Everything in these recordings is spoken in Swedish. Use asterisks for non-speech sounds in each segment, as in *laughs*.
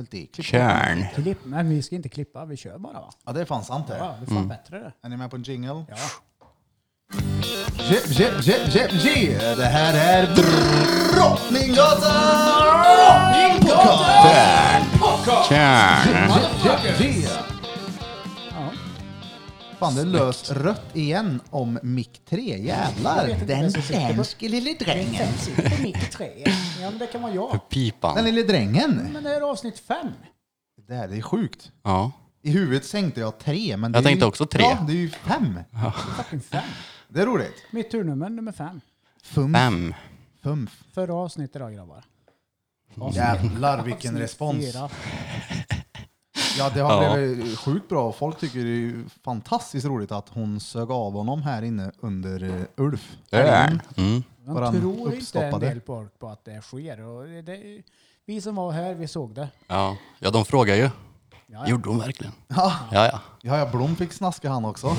helt i. Klipp Körn. Klipp, men vi ska inte klippa, vi kör bara va? Ja, det är fan sant det. Ja, det är fan bättre det. Är ni med på en jingle? Ja. Je, je, je, je, je. Det här är Drottninggatan Rockpodcast! Tjärn. Je, je, je. Fan, det är löst rött igen om mick 3. Jävlar! Den, danske lille drängen. Sen sitter mitt tre. Ja, men det kan vara jag. Den Pipan. lille drängen. Men det är avsnitt fem. Det här är sjukt. Ja. I huvudet tänkte jag tre, men det Jag är ju- tänkte också tre. Ja, det är ju fem. Fucking fem. Det är roligt. Mitt turnummer nummer fem. Fumf, Fem. fumf. Förra avsnittet idag grabbar. Jävlar Alltså, vilken respons. Fyra. Ja, det har Ja. blivit sjukt bra. Folk tycker det är ju fantastiskt roligt att hon sög av honom här inne under eh, Ulf. Tjärn. Mm. Var Man han tror inte en uppstoppade? del folk på att det sker. Och det- det, vi som var här, vi såg det. Ja. ja, de frågar ju. ja. Gjorde hon verkligen? Ja, Ja, ja. ja, ja Blom fick snaska han också.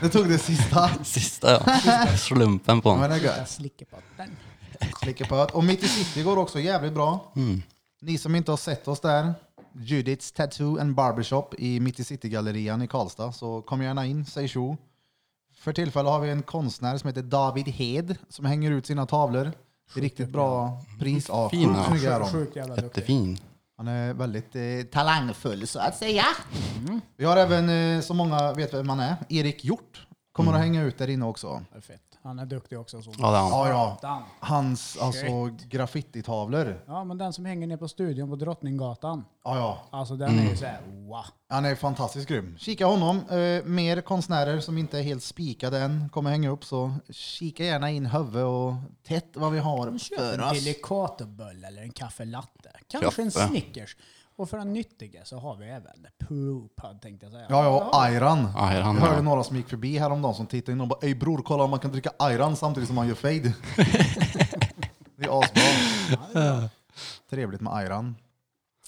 Det tog det sista. Sista *laughs* ja. Slumpen på Men honom. det är Jag gött. slickar på den. Slicker på öet. Och Mitt i City går också jävligt bra. Ni som inte har sett oss där, Judiths Tattoo and Barbershop i Mitt i City-gallerian i Karlstad, så kom gärna in, säg tjo. För tillfället har vi en konstnär som heter David Hed som hänger ut sina tavlor. Det är riktigt bra pris. Ja, Fina. sjukt snygga är de. Sjukt jävla duktig. Jättefin. Han är väldigt eh, talangfull så att säga. Vi har även, eh, som många vet vem han är, Erik Hjort. Kommer att hänga ut där inne också. Ja, Fett. Han är duktig också. Så. Ja, det är han. Ja, ja. Dan. Hans alltså, graffititavlor. Ja, men den som hänger ner på studion på Drottninggatan. Ja, ja. Alltså den är ju såhär, wow. Han är fantastiskt grym. Kika honom. Eh, mer konstnärer som inte är helt spikade än kommer hänga upp, så kika gärna in huvud och tätt vad vi har för En oss. delicatobulle eller en kaffelatte. Kanske en Kaffe. Snickers. Och för den nyttiga så har vi även Pupad tänkte jag säga. Ja, ja, och Ayran. Jag Ayran, hörde ja. några som gick förbi häromdagen som tittade in och bara Ey bror, kolla om man kan dricka Ayran samtidigt som man gör *laughs* fade. det är asbra. Trevligt med Ayran.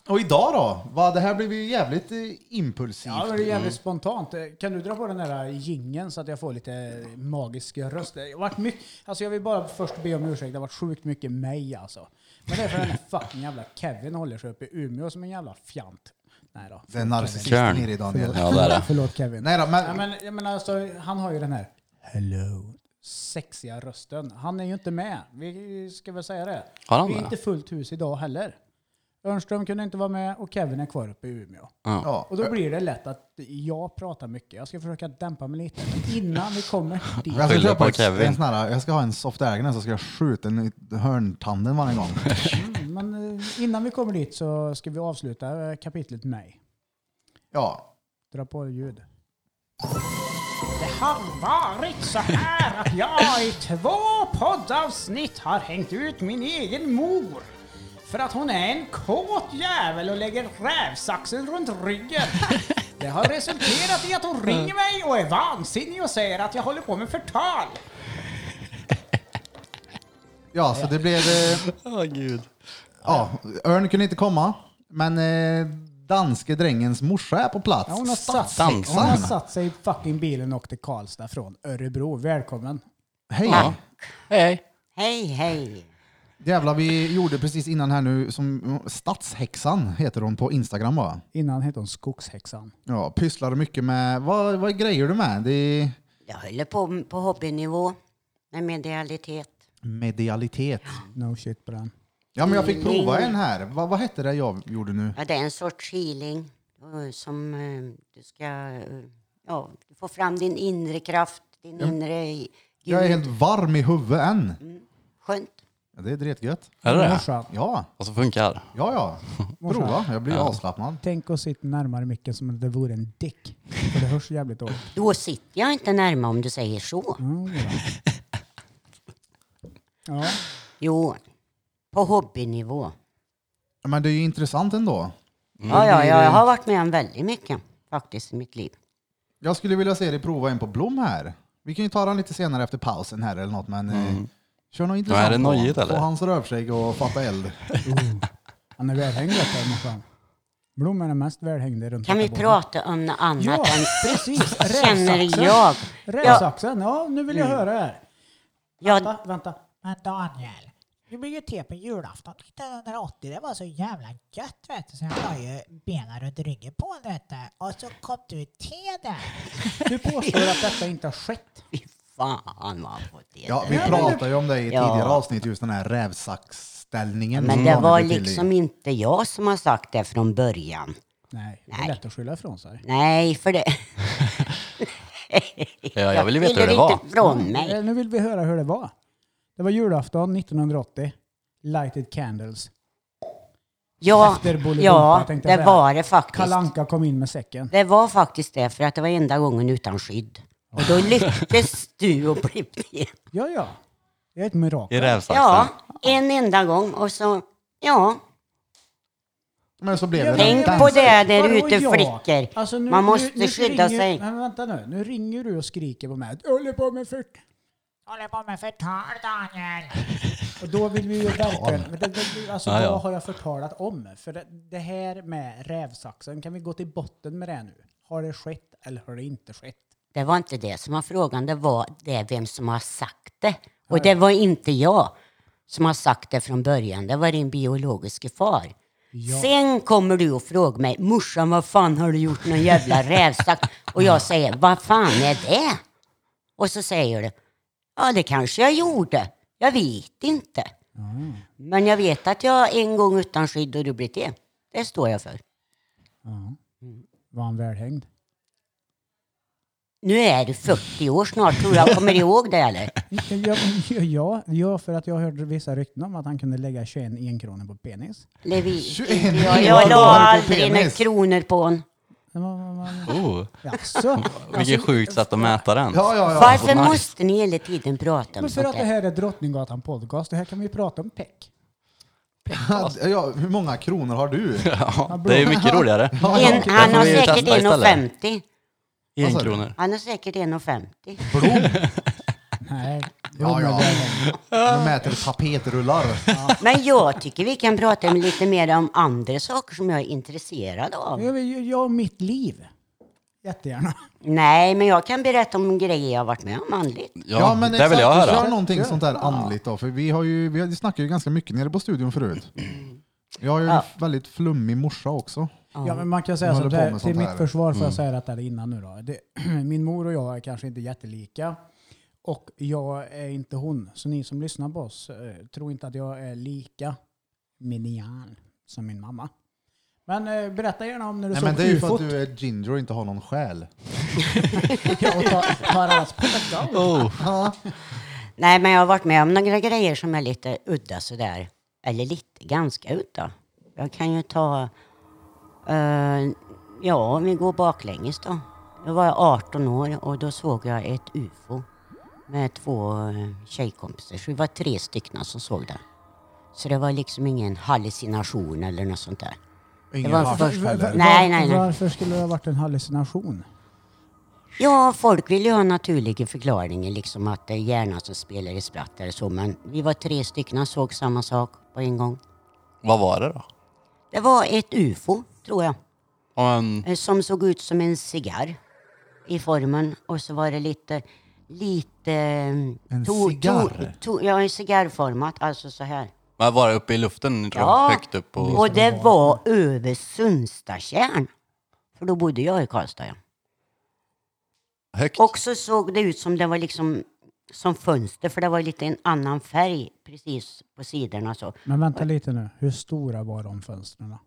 Och idag då? Va, det här blev ju jävligt eh, impulsivt. Ja, men det är jävligt spontant. Eh, Kan du dra på den där gingen så att jag får lite äh, magisk röst? Det har varit mycket, alltså jag vill bara först be om ursäkt, det har varit sjukt mycket mig alltså. Men det är för den där fucking jävla Kevin håller sig uppe i Umeå som en jävla fjant. Nej då. Det är *laughs* narcissisten Kärn. i dig Daniel. Ja, det är det. Förlåt Kevin. Nej då, men, Ja, men, jag menar, alltså, han har ju den här hello sexiga rösten. Han är ju inte med. Vi ska väl säga det. Har han Vi är det? inte fullt hus idag heller. Örnström kunde inte vara med och Kevin är kvar uppe i Umeå. ja. Och då blir det lätt att jag pratar mycket. Jag ska försöka dämpa mig lite. Men innan vi *laughs* kommer Jag dit. ska, Skyller köpa på ett, Kevin. en sån här, jag ska ha en soft air så ska jag skjuta den i hörntanden varje *laughs* gång. Mm, Men eh, innan vi kommer dit så ska vi avsluta eh, kapitlet mig. Ja. Dra på ljud. Det har varit så här att jag i två poddavsnitt har hängt ut min egen mor. För att hon är en kåt jävel och lägger rävsaxen runt ryggen. Det har resulterat i att hon ringer mig och är vansinnig och säger att jag håller på med förtal. ja, så det blev... eh, Åh gud. Ja, Örn kunde inte komma, men eh, danske drängens morsa är på plats. Ja, hon, har satt sig, Statssexan. hon har satt sig i fucking bilen och åkte till Karlstad från Örebro. Välkommen. Hej! Ja. Hej, hej. Hej, hej! Jävlar, vi gjorde precis innan här nu, som Stadshäxan heter hon på Instagram va? Innan hette hon Skogshäxan. Ja, pysslar mycket med... Vad, vad grejer du med? Det är Jag håller på på hobbynivå med medialitet. medialitet. No shit på den. Ja, men jag fick prova en här. Vad, vad hette det jag gjorde nu? Ja, det är en sorts healing eh, som eh, du ska eh, ja, du får fram din inre kraft, din inre i- gud. Jag är helt varm i huvudet än. Skönt. Ja, det är dretgött. Är det det? Morsan, Ja. Och så funkar. Ja, ja. Prova. Jag blir avslappnad. tänk och sitta närmare micken som om det vore en dick. För det hörs jävligt *laughs* dåligt. Då sitter jag inte närmare om du säger så. Mm, det är bra. ja, Jo, på hobbynivå. Men det är ju intressant ändå. Ja, ja, jag har varit med om väldigt mycket faktiskt i mitt liv. Jag skulle vilja se dig prova en på Blom här. Vi kan ju ta den lite senare efter pausen här eller något, men eh, kör något intressant. Mm. är det på honom. nojigt, eller? Få hans rövskägg och fatta eld. han är välhängd där morsan. Blom är den mest välhängde runt Kan vi detta bordet. prata om något annat Ja, än precis. *laughs* känner Rävsaxen. jag? Mm. Rävsaxen, ja nu vill jag höra det här. Ja, Vänta, vänta. Men Daniel, Vi blev ju te på julafton 1980. Det var så jävla gött vet du. Så jag la ju benen runt ryggen på honom vet du. Och så kom du te där. Du påstår att detta inte har skett. Fy fan vad han fått det. Ja, vi där. pratade ju om det i Ja. tidigare avsnitt, just den här rävsaxställningen. Mm. Men som det Daniel var fick till i. liksom inte jag som har sagt det från början. Nej, det är Nej. lätt att skylla ifrån sig. Nej, för det... *laughs* Ja, jag ville veta hur skyller det var. inte från mig. Eh, Nu vill vi höra hur det var. Det var julafton 1980. Lighted candles. Ja, Efter Bolibompa, ja tänkte jag det säga. var det faktiskt. Kalle Anka kom in med säcken. Det var faktiskt det, för att det var enda gången utan skydd. Och då lyckades du att bli med. Ja, ja. Det är ett mirakel. I rävsaxen. Ja, en enda gång och så, ja. Men så blev det Tänk dans- på det där Vadå ute, jag? flickor. Alltså, Man måste skydda ringer, sig. Men vänta nu, nu ringer du och skriker på mig. Jag håller på med fört. Håller på med förtal Daniel. Och då vill vi *laughs* ju verkligen... Men det, det, alltså, Ja, ja. Vad har jag förtalat om? För det, det här med rävsaxen, kan vi gå till botten med det nu? Har det skett eller har det inte skett? Det var inte det som var frågan, det var det vem som har sagt det. Och det var inte jag som har sagt det från början, det var din biologiska far. Sen kommer du och frågar mig, morsan vad fan har du gjort någon jävla rävsax? Och jag säger, vad fan är det? Och så säger du, ja det kanske jag gjorde, jag vet inte. Men jag vet att jag en gång utan skydd och du blev det. Det står jag för. Var han välhängd? Nu är du 40 år snart, tror jag kommer ihåg det eller? Ja, *laughs* ja, ja, för att jag hörde vissa rykten om att han kunde lägga 21 enkronor på penis. Levi, 21 inte jag, kronor jag la på aldrig några penis. kronor på hon. Men vad- vad- vad- *laughs* Oh, Jaså? Alltså, vilket sjukt sätt att mäta den. Alltså, Ja, ja, ja. Varför nice. måste ni hela tiden prata om Men för sånt att det där? här är Drottninggatan podcast, det här kan vi prata om peck. *laughs* ja, hur många kronor har du? Ja, det är ju mycket roligare. En, Där han får har vi säkert testa istället. 1,50. En sa du? kronor. Han har säkert 1,50. Nej, Ja, ja. De mäter tapetrullar. Men jag tycker vi kan prata om lite mer om andra saker som jag är intresserad av. jag vill ju jag och mitt liv. Jättegärna. Nej, men jag kan berätta om grejer jag har varit med om andligt. Ja, det vill jag exakt. höra. Kör någonting sånt där andligt då, för vi har ju, vi har- vi snackar ju ganska mycket nere på studion förut. Jag har ju en Ja. väldigt flummig morsa också. Ja, men man kan säga Man så håller på här, med till sånt mitt här. Mm. försvar får jag säga detta innan nu då. Det, *clears throat* min mor och jag är kanske inte jättelika. Och jag är inte hon. Så ni som lyssnar på oss, eh, tro inte att jag är lika minian som min mamma. Men eh, berätta gärna om när du Nej såg men det är ju för ufot att du är ginger och inte har någon själ. och tar, tar allas pojkar. *laughs* Oh, Nej, men jag har varit med om några grejer som är lite udda sådär. Eller lite, ganska udda. Jag kan ju ta... eh, ja, om vi går baklänges då. Då var jag 18 år och då såg jag ett UFO med två eh, tjejkompisar. Så vi var tre stycken som såg det. Så det var liksom ingen hallucination eller något sånt där. Ingen var hasch först- heller. Nej. Varför skulle det ha varit en hallucination? Ja, folk vill ju ha naturliga förklaringar, liksom att det är hjärnan som spelar i spratt eller så. Men vi var tre stycken och såg samma sak på en gång. vad var det då? Det var ett ufo, tror jag, Ja, men, eh, som såg ut som en cigarr i formen. Och så var det lite... lite en cigarr? To, to, ja, en cigarrformat, alltså så här. men var det uppe i luften? tror jag? Högt upp? Och, och det var över Sundstatjärn. För då bodde jag i Karlstad, ja. högt? Och så såg det ut som det var liksom som fönster, för det var lite en annan färg precis på sidorna. Så. Men vänta lite nu, hur stora var de fönstren? då?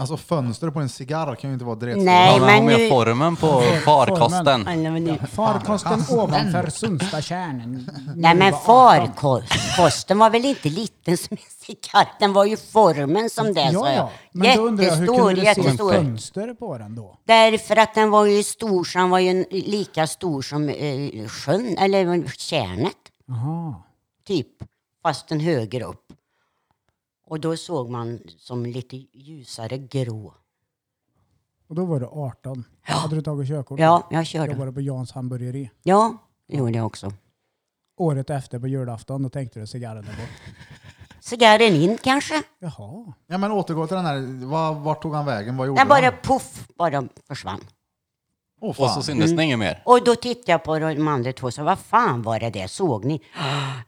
Alltså fönster på en cigarr kan ju inte vara direkt. ja, Nej. men har men nu- med formen på farkosten. Eller, men nu- Alltså, Farkosten ovanför Sundstatjärnen. Nej men farkosten var väl inte liten som en cigarr? Den var ju formen som Mm, det sa Ja, jag. ja. Men då undrar jag, hur kunde du se jättestor. fönster på den då? Därför att den var ju stor, så den var ju en- lika stor som eh, sjön, eller eh, tjärnet, Aha. typ. Fast den högre upp. Och då såg man som lite ljusare grå. Och då var du 18. Hade du tagit körkort? Ja, jag körde. Jobbade på Jans hamburgeri. Ja, det gjorde jag också. Året efter på julafton, då tänkte du cigarren är bort. Cigarren in kanske? Jaha. Ja men återgå till den här, vad, vart tog han vägen? Vad gjorde Den han? bara poff, bara försvann. Åh, fan. Och så syntes det inget mer. Och då tittade jag på de andra två och sa, vad fan var det där? Såg ni?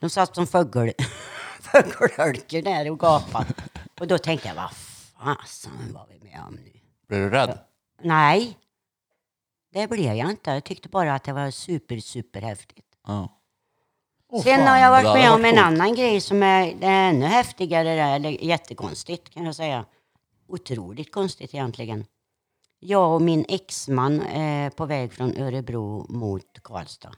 De satt som fågel, *laughs* fågelholkar där och gapade. Och då tänkte jag, vad fasen var vi med om nu? Blev du rädd? Nej, det blev jag inte. Jag tyckte bara att det var super, super häftigt. Ja. Åh, Sen fan. har jag Det varit hade med om varit en coolt. annan grej som är, det är ännu häftigare, där, eller jättekonstigt kan jag säga. Otroligt konstigt egentligen. Jag och min exman är på väg från Örebro mot Karlstad.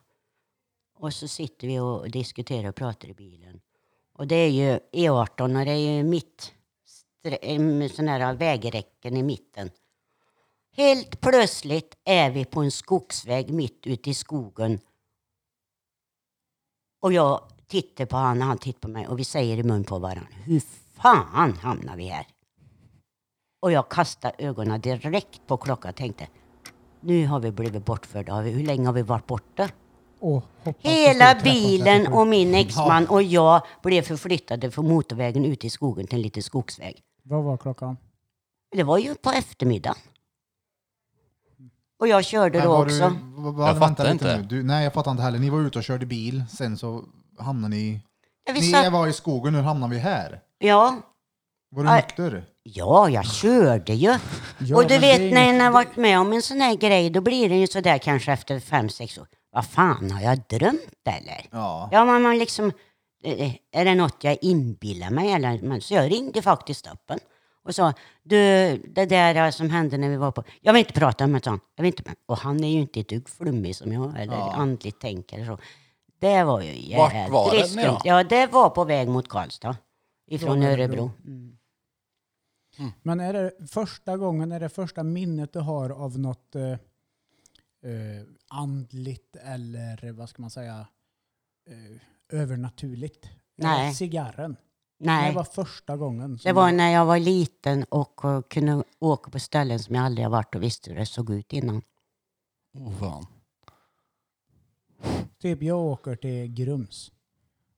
Och så sitter vi och diskuterar och pratar i bilen. Och det är ju E18 och det är ju mitt, stre- en sån här vägräcken i mitten. Helt plötsligt är vi på en skogsväg mitt ute i skogen och jag tittar på han och han tittar på mig och vi säger i mun på varandra. Hur fan hamnar vi här? Och jag kastade ögonen direkt på klockan och tänkte. Nu har vi blivit bortförda. Har vi- Hur länge har vi varit borta? Åh, hoppas Hela bilen och min exman och jag blev förflyttade från motorvägen ut i skogen till en liten skogsväg. Vad var klockan? Det var ju på eftermiddagen. Och jag körde Men då var också. Du, vad- vad- Jag vänta fattar lite inte. nu. Du, nej, jag fattar inte heller. Ni var ute och körde bil, sen så hamnade ni... Ja, vi Ni satt, var i skogen, nu hamnar vi här. ja, Var du Nej. nykter? Ja, jag körde ju. Ja, och du men det är vet när inget- en har varit med om en sån här grej, då blir det ju sådär kanske efter fem sex år. Vad fan, har jag drömt eller? Ja. Ja, men man liksom, eh, är det något jag inbillar mig eller? Men- Så jag ringde faktiskt upp en och sa, du, det där eh, som hände när vi var på, jag vill inte prata med sån. Jag vill inte med. Och han är ju inte ett dugg flummig som jag, eller Ja. andligt tänkare så. Det var ju Vart jävligt var det nu skumt. då? Ja, det var på väg mot Karlstad. Ifrån Från Örebro. Örebro. Men är det första gången, är det första minnet du har av något eh, eh, andligt eller vad ska man säga eh, övernaturligt? Nej. Ja, Cigarren. Nej. Det var första gången. som- Det var när jag var liten och eh, kunde åka på ställen som jag aldrig har varit och visste hur det såg ut innan. Oh, fan. Typ jag åker till Grums.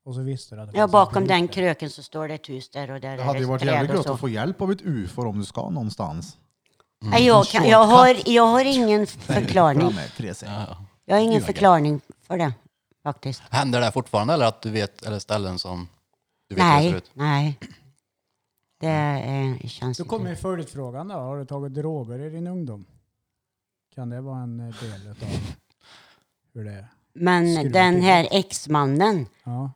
Och så visste du att det Ja, fanns en bakom bro den där. kröken så står det ett hus där och där Det hade är ju varit träd jävligt och gött så. att få hjälp av ett ufo om du ska någonstans. Nej, jag, kan, jag, har, jag har ingen förklaring. Framme, tre sek. Ja. Jag har ingen Ljuga. förklaring för det faktiskt. Händer det fortfarande eller att du vet, eller ställen som du vet hur det ser Nej, ut? nej. Det eh, känns Då kommer ju följdfrågan då. Har du tagit droger i din ungdom? Kan det vara en eh, del utav hur det är? Men skruva den till. här exmannen, Ja.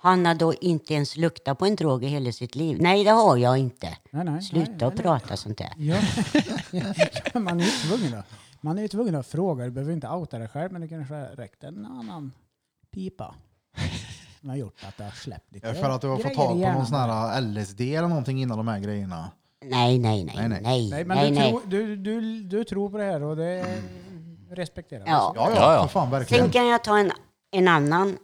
han har då inte ens luktat på en drog i hela sitt liv. Nej, det har jag inte. Nej, nej. nej, Sluta nej, att prata sånt där. Ja. *laughs* man är ju tvungen att, man är ju tvungen att fråga. Du behöver inte outa dig själv, men det kanske räckte en annan pipa. Som har gjort att det har släppt lite Ja, För att du har fått grejer i tag på någon hjärnan. sån här LSD eller någonting innan de här grejerna. Nej, nej, nej, Nej, nej. nej, Nej, men nej, du, nej. Tror, du, du, du tror på det här och det respekterar vi. Ja. Ja, ja, Ja, ja. för fan verkligen. Sen kan jag ta en, en annan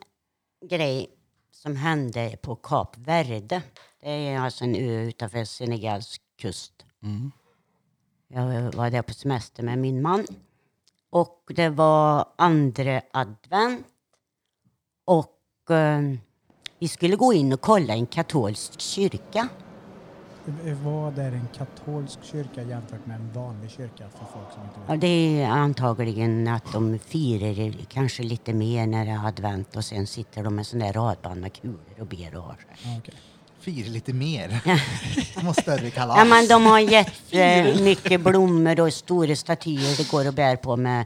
grej som hände på Kap Verde. Det är alltså en ö utanför Senegals kust. Jag var där på semester med min man. Och det var andra advent. Och eh, vi skulle gå in och kolla en katolsk kyrka. Vad är en katolsk kyrka jämfört med en vanlig kyrka för folk som inte vet? Ja, det är antagligen att de firar kanske lite mer när det är advent och sen sitter de med sån där radband med kulor och ber och har sig. Ja, okej. Fira lite mer. *laughs* De har större kalas. Ja, men de har jättemycket blommor och stora statyer det går att bära på med,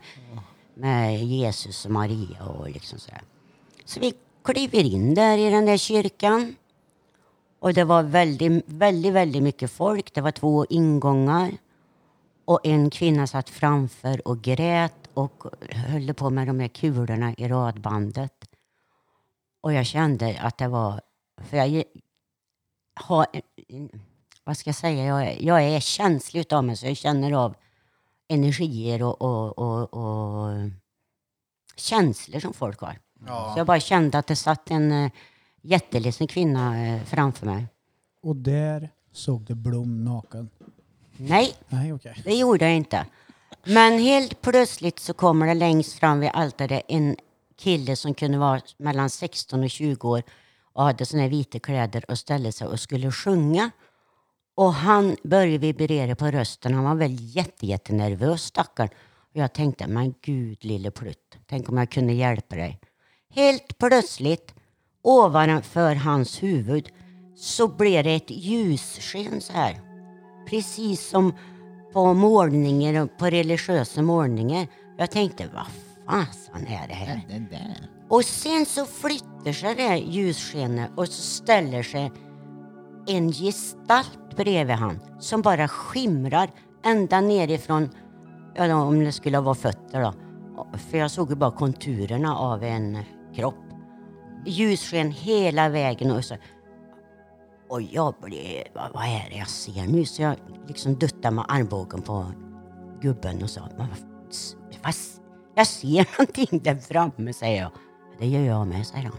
med Jesus och Maria och liksom sådär. Så vi kliver in där i den där kyrkan. Och det var väldigt, väldigt, väldigt mycket folk. Det var två ingångar. Och en kvinna satt framför och grät och höll på med de där kulorna i radbandet. Och jag kände att det var... För jag har vad ska jag säga, jag, jag är känslig utav mig så jag känner av energier och, och, och, och känslor som folk har. Så Ja. jag bara kände att det satt en eh, jätteledsen kvinna eh, framför mig. Och där såg du Blom naken. Nej, Nej, okej. det gjorde jag inte. Men helt plötsligt så kommer det längst fram vid altaret en kille som kunde vara mellan 16 och 20 år och hade såna här vita kläder och ställde sig och skulle sjunga. Och han började vibrera på rösten. Han var väl jätte, jättenervös stackarn. Och jag tänkte, men gud lille plutt, tänk om jag kunde hjälpa dig. Helt plötsligt, ovanför hans huvud, så blev det ett ljussken så här. Precis som på målningar, och på religiösa målningar. Jag tänkte, vad fasen är det här? Och sen så flyttar sig det här ljusskenet och så ställer sig en gestalt bredvid han som bara skimrar ända nerifrån, ja, om det skulle vara fötter då. För jag såg ju bara konturerna av en kropp. Ljussken hela vägen och så. Och jag blev, vad, vad är det jag ser nu? Så jag liksom duttade med armbågen på gubben och sa, "Men vad, s- vad, s- jag ser någonting där framme, säger jag. Det gör jag med, säger han.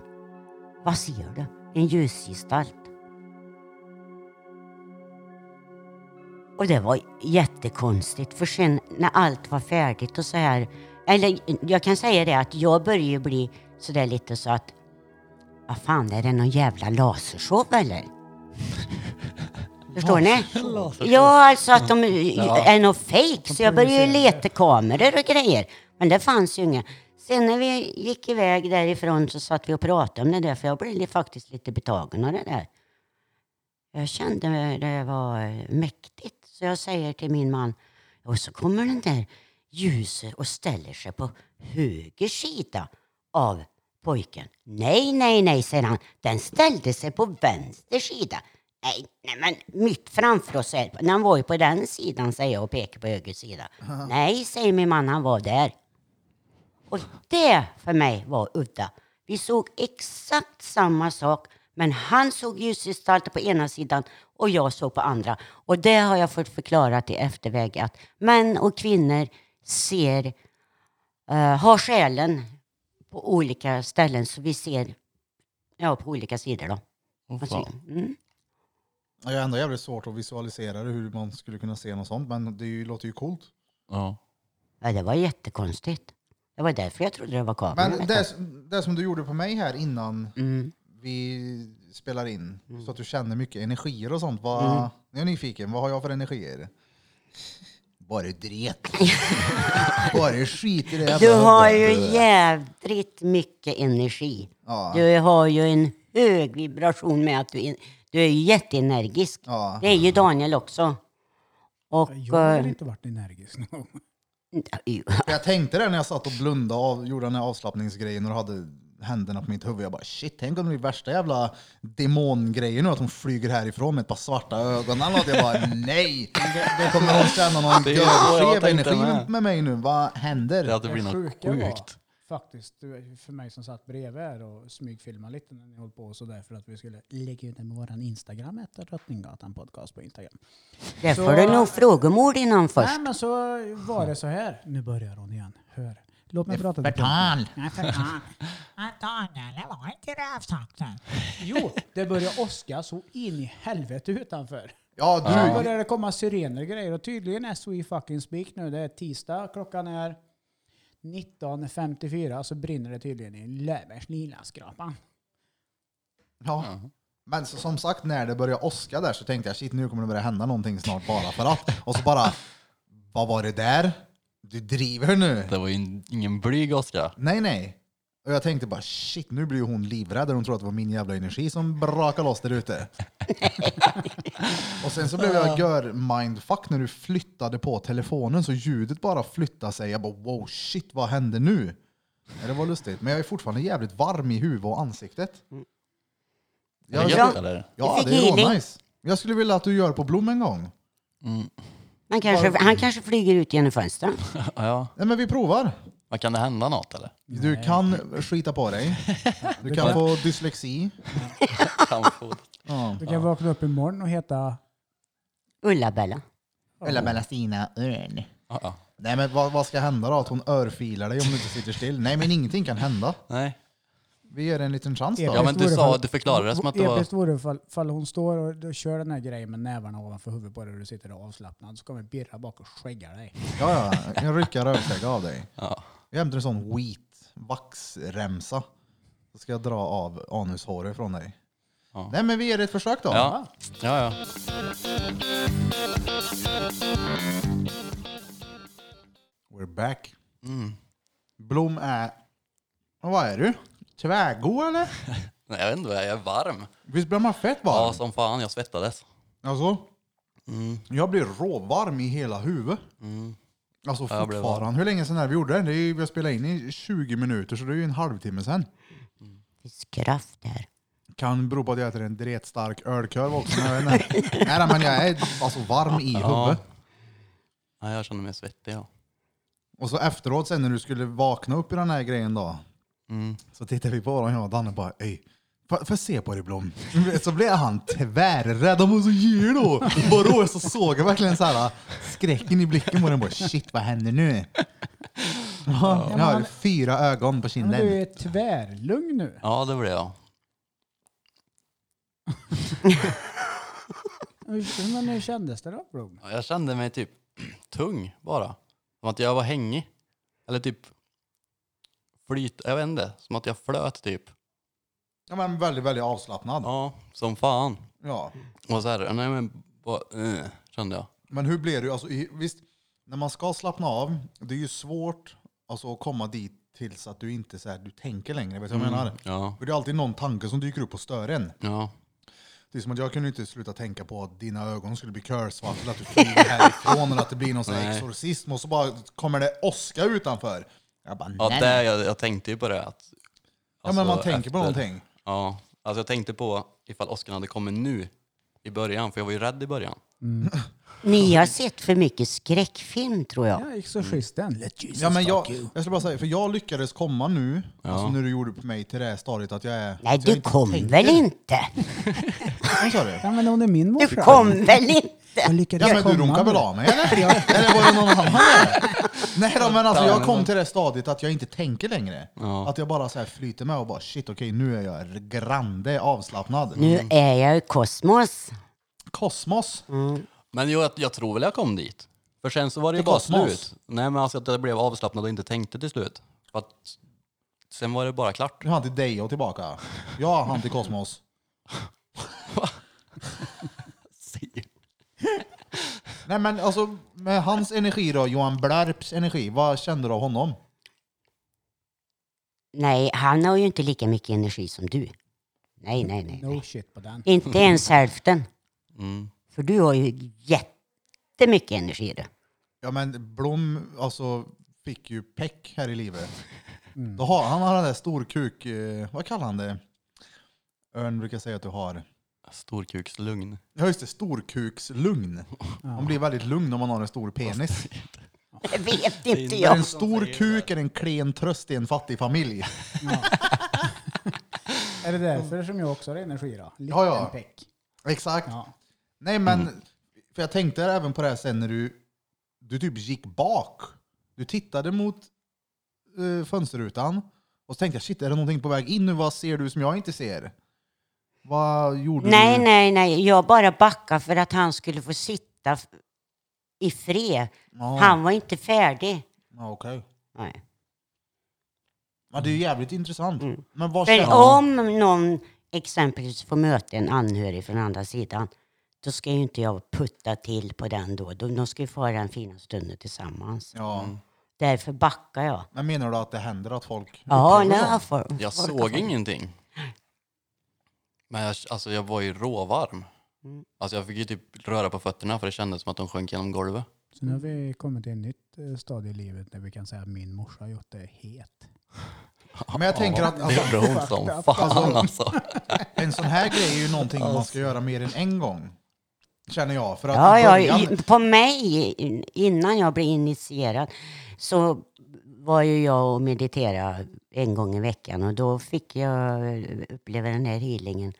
Vad ser du? En ljusgestalt. Och det var jättekonstigt för sen när allt var färdigt och så här. Eller jag kan säga det att jag börjar ju bli sådär lite så att vad fan är det någon jävla lasershow eller? Förstår ni? Ja, alltså att de är något fake. Så jag började ju leta kameror och grejer. Men det fanns ju inga. Sen när vi gick iväg därifrån så satt vi och pratade om det där. För jag blev li- faktiskt lite betagen av det där. Jag kände det var eh, mäktigt. Så jag säger till min man. Och så kommer den där ljuset och ställer sig på höger sida av pojken. Nej, nej, nej, säger han. Den ställde sig på vänster sida. Nej, nej men mitt framför oss. Här. Den var ju på den sidan, säger jag och pekar på höger sida. Nej, säger min man, han var där. Och det för mig var udda. Vi såg exakt samma sak, men han såg ljusgestalter på ena sidan och jag såg på andra. Och det har jag fått förklarat i efterväg att män och kvinnor ser, eh, har själen på olika ställen så vi ser ja, på olika sidor. Då. Åh, Alltså, Oh, fan. mm. Jag har ändå jävligt svårt att visualisera det, hur man skulle kunna se något sånt, men det är ju, låter ju coolt. Ja. ja, det var jättekonstigt. Det var därför jag trodde det var kameran. Men vet det, du. det som du gjorde på mig här innan Mm. vi spelar in, Mm. så att du känner mycket energier och sånt. Vad, Jag är nyfiken, vad har jag för energier? Bara *laughs* dret. Bara skit i det. Du jävla har ju huvudet. jävligt mycket energi. Ja. Du har ju en hög vibration med att du, in, du är ju jätteenergisk. Ja. Det är ju Daniel också. Och... Jag har eh, inte varit energisk någon gång. ju- Jag tänkte det när jag satt och blundade och gjorde den här avslappningsgrejen och hade händerna på mitt huvud. Jag bara shit, tänk om det blir värsta jävla demongrejen nu, att hon flyger härifrån med ett par svarta ögon. eller något. Jag bara *laughs* nej, då kommer hon känna någon Det är ju så jag görfev tänkte energi med. med mig nu. Vad Det händer? hade blivit något sjuka var sjukt. Faktiskt, det var för mig som satt bredvid er och smygfilmade lite när ni höll på så där för att vi skulle lägga ut den på våran Instagram, heter Drottninggatan podcast på Instagram. där Så- får du nog frågomord innan först. Nej men så var det så här. Nu börjar hon igen. Hör. Låt mig prata. lite. Förtal! Nej, för *laughs* fan. Men Daniel, det var inte rävsaxen. Jo, det börjar åska så in i helvete utanför. Ja, du. Nu börjar det komma sirener och grejer och tydligen är SOE fucking speak nu. Det är tisdag, klockan är 19.54 så brinner det tydligen i Löfbergs lilla skrapan. Ja. Men så, som sagt, när det började åska där så tänkte jag shit, nu kommer det börja hända någonting snart bara för att. Och så bara, vad var det där? Du driver nu. Det var ju in- ingen blyg Oskar. Nej, nej. Och jag tänkte bara shit, nu blir ju hon livrädd och hon tror att det var min jävla energi som brakade loss där ute. och sen så blev jag gör mindfuck när du flyttade på telefonen så ljudet bara flyttade sig. Jag bara wow shit, vad hände nu? Ja, Det var lustigt, men jag är fortfarande jävligt varm i huvudet och ansiktet. Är det Jag- gött eller? *laughs* Ja, fick det är healing. nice. Jag skulle vilja att du gör på Blom en gång. Han kanske, han kanske flyger ut genom fönstret. Ja, ja. Nej, men vi provar. Men kan det hända något eller? Du kan skita på dig. Du kan få dyslexi. Kan få- Ja. Du kan vakna upp imorgon och heta Ulla-Bella. Eller Melastina Örn. *laughs* Ja, ja. Nej, men vad, vad ska hända då? Att hon örfilar dig om du inte sitter still? Nej, men ingenting kan hända. Nej. Vi ger en liten chans Ja då. men du vore sa, fall- du förklarade det som att det var... Episkt vore fall, fall hon står och då kör den här grejen med nävarna ovanför huvudet på dig och du sitter avslappnad så kommer en birra bak och skäggar dig. Ja, ja. Jag rycker rövskägg av dig. Ja. Jag hämtar en sån wheat vaxremsa. Så ska jag dra av anushåret från dig. Ja. Nej, men vi ger det ett försök då. Ja. ja, ja. We're quarterback. Mm. Blom är... Vad är du? Tvärgod eller? Nej, jag vet inte vad jag är, jag är varm. Visst blir man fett varm? Ja, Mm. som fan, jag svettades. Alltså, jag blir råvarm i hela huvudet. Alltså Mm. Ja, jag blev fortfarande. Hur länge sedan är det vi gjorde det? det? är ju- Vi har spelat in i 20 minuter så det är ju en halvtimme sedan. Det finns kraft där. Kan bero på att jag äter en dretstark ölkorv också. Men jag vet inte. *laughs* Nej, nej, men jag är alltså varm i huvudet. Nej, jag känner mig svettig. Ja. Och så efteråt sen när du skulle vakna upp i den här grejen då. Så tittade vi på varandra jag och Danne bara Ej, får får jag se på dig Blom? *laughs* Så blev han tvärrädd. Han var så djur då. Bara då så såg jag verkligen så här skräcken i blicken på den. Bara shit vad händer nu? Ja, jag har ju fyra ögon på Men kinden. du är tvärlugn nu. ja, det blev jag. Hur- Men hur kändes det då Blom? Ja, Jag kände mig typ *clears throat* tung bara. Som att jag var hängig. Eller typ flyt, jag vet inte. Som att jag flöt typ. Ja, men väldigt, väldigt avslappnad. Ja, som fan. Ja. Och så här, nej men, bara, eh, kände jag. Men hur blir du? Alltså, i- visst, när man ska slappna av, det är ju svårt alltså, att komma dit tills att du inte så här, du tänker längre. Vet du vad jag menar? Ja, För det är alltid någon tanke som dyker upp och stör en. ja. Det är som att jag kunde inte sluta tänka på att dina ögon skulle bli körsvarta, eller att du flyger härifrån, eller att det blir någon sån här Nej. exorcism, och så bara kommer det åska utanför. Jag bara, ja nej. nej. det, jag, jag tänkte ju på det. Att, Ja, men alltså, man tänker på efter- någonting. Ja, alltså jag tänkte på ifall Oskar hade kommit nu i början, för jag var ju rädd i början. Ni har sett för mycket skräckfilm tror jag. Ja, Mm. exorcisten. Let Jesus Ja, men jag, fuck you. jag skulle bara säga, för jag lyckades komma nu, alltså när du gjorde på mig till det här stadiet att jag är... Nej, att jag du inte kom tänker. väl inte? Vad sa du? Ja, men hon är min Du morsa. kom väl inte? Jag lyckades Ja men du komma runkade väl nu. av mig *laughs* eller? eller var det någon annan? *laughs* där? Nej då, men alltså jag kom till det stadiet att jag inte tänker längre. Att jag bara så här flyter med och bara shit okej nu är jag grande avslappnad. Nu är jag i kosmos. Kosmos. Men jo, jag, jag tror väl jag kom dit. För sen så var det ju Till bara kosmos. slut. Nej men alltså att jag blev avslappnad och inte tänkte till slut. För att, sen var det bara klart. *laughs* Nu är han till dig och tillbaka. Ja han till kosmos. Nej men alltså med hans energi då, Johan Blarps energi, vad kände du av honom? Nej, han har ju inte lika mycket energi som du. Nej, nej, nej. No shit på den. Inte ens hälften. Mm. För du har ju jättemycket energi du. Ja men Blom alltså fick ju peck här i livet. Då har, han har den där storkuk, eh, vad kallar han det? Örn brukar säga att du har. Storkukslugn. Ja just det, storkukslugn. Man blir väldigt lugn om man har en stor penis. Det vet inte Är jag. en stor kuk är en klen tröst i en fattig familj. Är det därför som jag också har energi då? Liten Ja, ja. peck. Exakt. Ja. Nej men, för jag tänkte även på det här sen när du, du typ gick bak. Du tittade mot eh, fönsterrutan och så tänkte jag shit är det någonting på väg in nu? Vad ser du som jag inte ser? Vad gjorde Nej, du? nej, nej. Jag bara backade för att han skulle få sitta f- i fred. Ja. Han var inte färdig. Ja, okej. Nej. Ja, det är ju jävligt intressant. Mm. Men vad För känner om någon exempelvis får möta en anhörig från andra sidan, då ska ju inte jag putta till på den då. De de ska ju få ha den fina stunden tillsammans. Ja. Därför backar jag. Men menar du att det händer att folk... Ja, upplever nej, sånt? folk, Jag folk- såg ingenting. Men jag, alltså, jag var ju råvarm. Alltså jag fick ju typ röra på fötterna för det kändes som att de sjönk genom golvet. Så nu har vi kommit till ett nytt eh, stadie i livet där vi kan säga att min morsa har gjort det het. Men jag tänker att Det alltså, gjorde ont som fan alltså. en sån här grej är ju någonting man ska göra mer än en gång. Känner jag. För att Alltså. Ja, i ja, början- i- på mig, in- innan jag blev initierad, så var ju jag och mediterade en gång i veckan och då fick jag uppleva den här healingen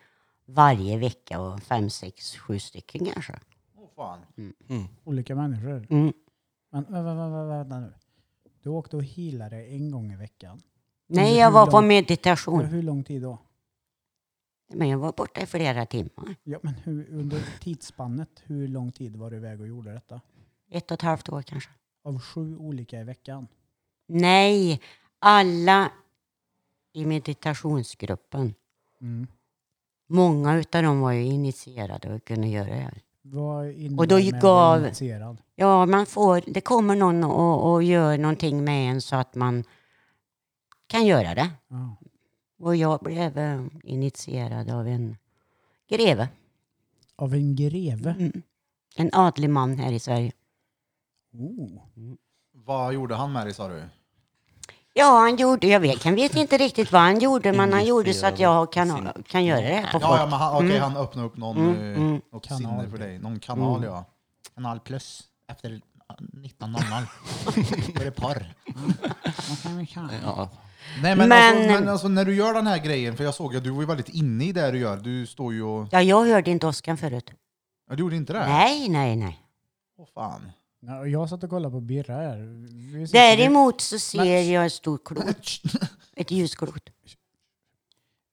varje vecka och fem, sex, sju stycken kanske. Åh, fan. Mm. Olika människor. Mm. Men vä- vä- vä- vä- vänta nu. Du åkte och healade en gång i veckan. Nej, hur jag var på lång- För meditation. hur lång tid då? Men jag var borta i flera timmar. Ja, men hur, under tidsspannet, hur lång tid var du iväg och gjorde detta? Ett och ett halvt år kanske. Av sju olika i veckan? Nej, alla i meditationsgruppen. Mm. Många utav dem var ju initierade och kunde göra det. här. Vad innebär Och då det med att gav- bli initierad? Ja, man får, det kommer någon och, och gör någonting med en så att man kan göra det. Ja. Och jag blev eh, initierad av en greve. Av en greve. Mm. En adlig man här i Sverige. Oh. Vad gjorde han med dig sa du? Ja, han gjorde, jag vet, jag vet inte riktigt vad han gjorde, men han gjorde så att jag kan, kan göra det här på Ja, folk. ja men han, okej, han öppnade upp någon, Mm, eh, mm. något Kanal sinne för typ. dig. Någon kanal ja. Kanal plus. Efter 19.00. Då är det porr. Ja. Nej men, Men- Alltså, men alltså när du gör den här grejen, för jag såg att du var ju väldigt inne i det du gör. Du står ju och... Ja, jag hörde inte Oskar förut. Ja, du gjorde inte det? Nej, nej, nej. Åh fan. Ja, och Jag satt och kollade på Birra här. Vi sitter- Däremot så ser jag ett stort klot, ett ljusklot.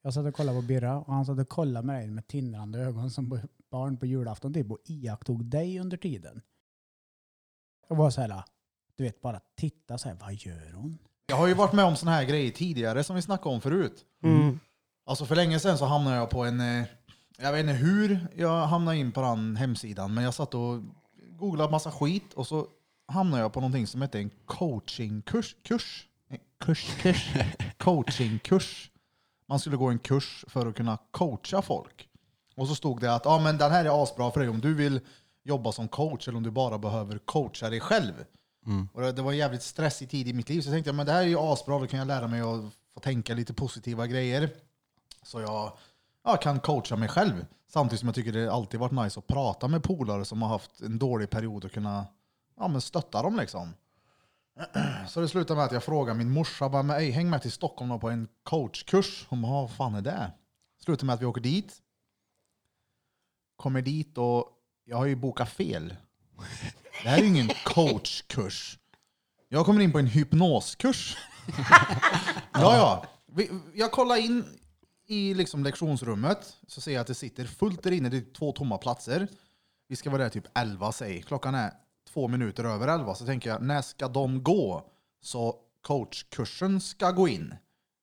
Jag satt och kollade på Birra och han satt och kollade med dig med tindrande ögon som barn på julafton typ och iakttog dig under tiden. Jag var så här, du vet bara titta så här, vad gör hon? Jag har ju varit med om såna här grejer tidigare som vi snackade om förut. Mm. Alltså för länge sedan så hamnade jag på en, eh, jag vet inte hur jag hamnade in på den hemsidan, men jag satt och googlade massa skit och så hamnade jag på någonting som hette en coachingkurs. Kurs? Nej, Kurs, kurs. coachingkurs. Man skulle gå en kurs för att kunna coacha folk. Och så stod det att ah, men den här är asbra för dig om du vill jobba som coach eller om du bara behöver coacha dig själv. Och det, det var en jävligt stressig tid i mitt liv så jag tänkte men det här är ju asbra, då kan jag lära mig att få tänka lite positiva grejer. Så jag ja, kan coacha mig själv. Samtidigt som jag tycker det alltid varit nice att prata med polare som har haft en dålig period och kunna ja, men stötta dem. liksom. *clears throat* Så det slutade med att jag frågade min morsa, bara, men, "Ey, häng med till Stockholm då på en coachkurs. Hon bara, vad fan är det? Slutade med att vi åker dit. Kommer dit och jag har ju bokat fel. Det här är ju ingen *laughs* coachkurs. Jag kommer in på en hypnoskurs. Ja, ja. Vi, jag kollar in i liksom lektionsrummet så ser jag att det sitter fullt där inne. Det är två tomma platser. Vi ska vara där typ 11, säg. Klockan är två minuter över 11. Så tänker jag, när ska de gå? Så coachkursen ska gå in.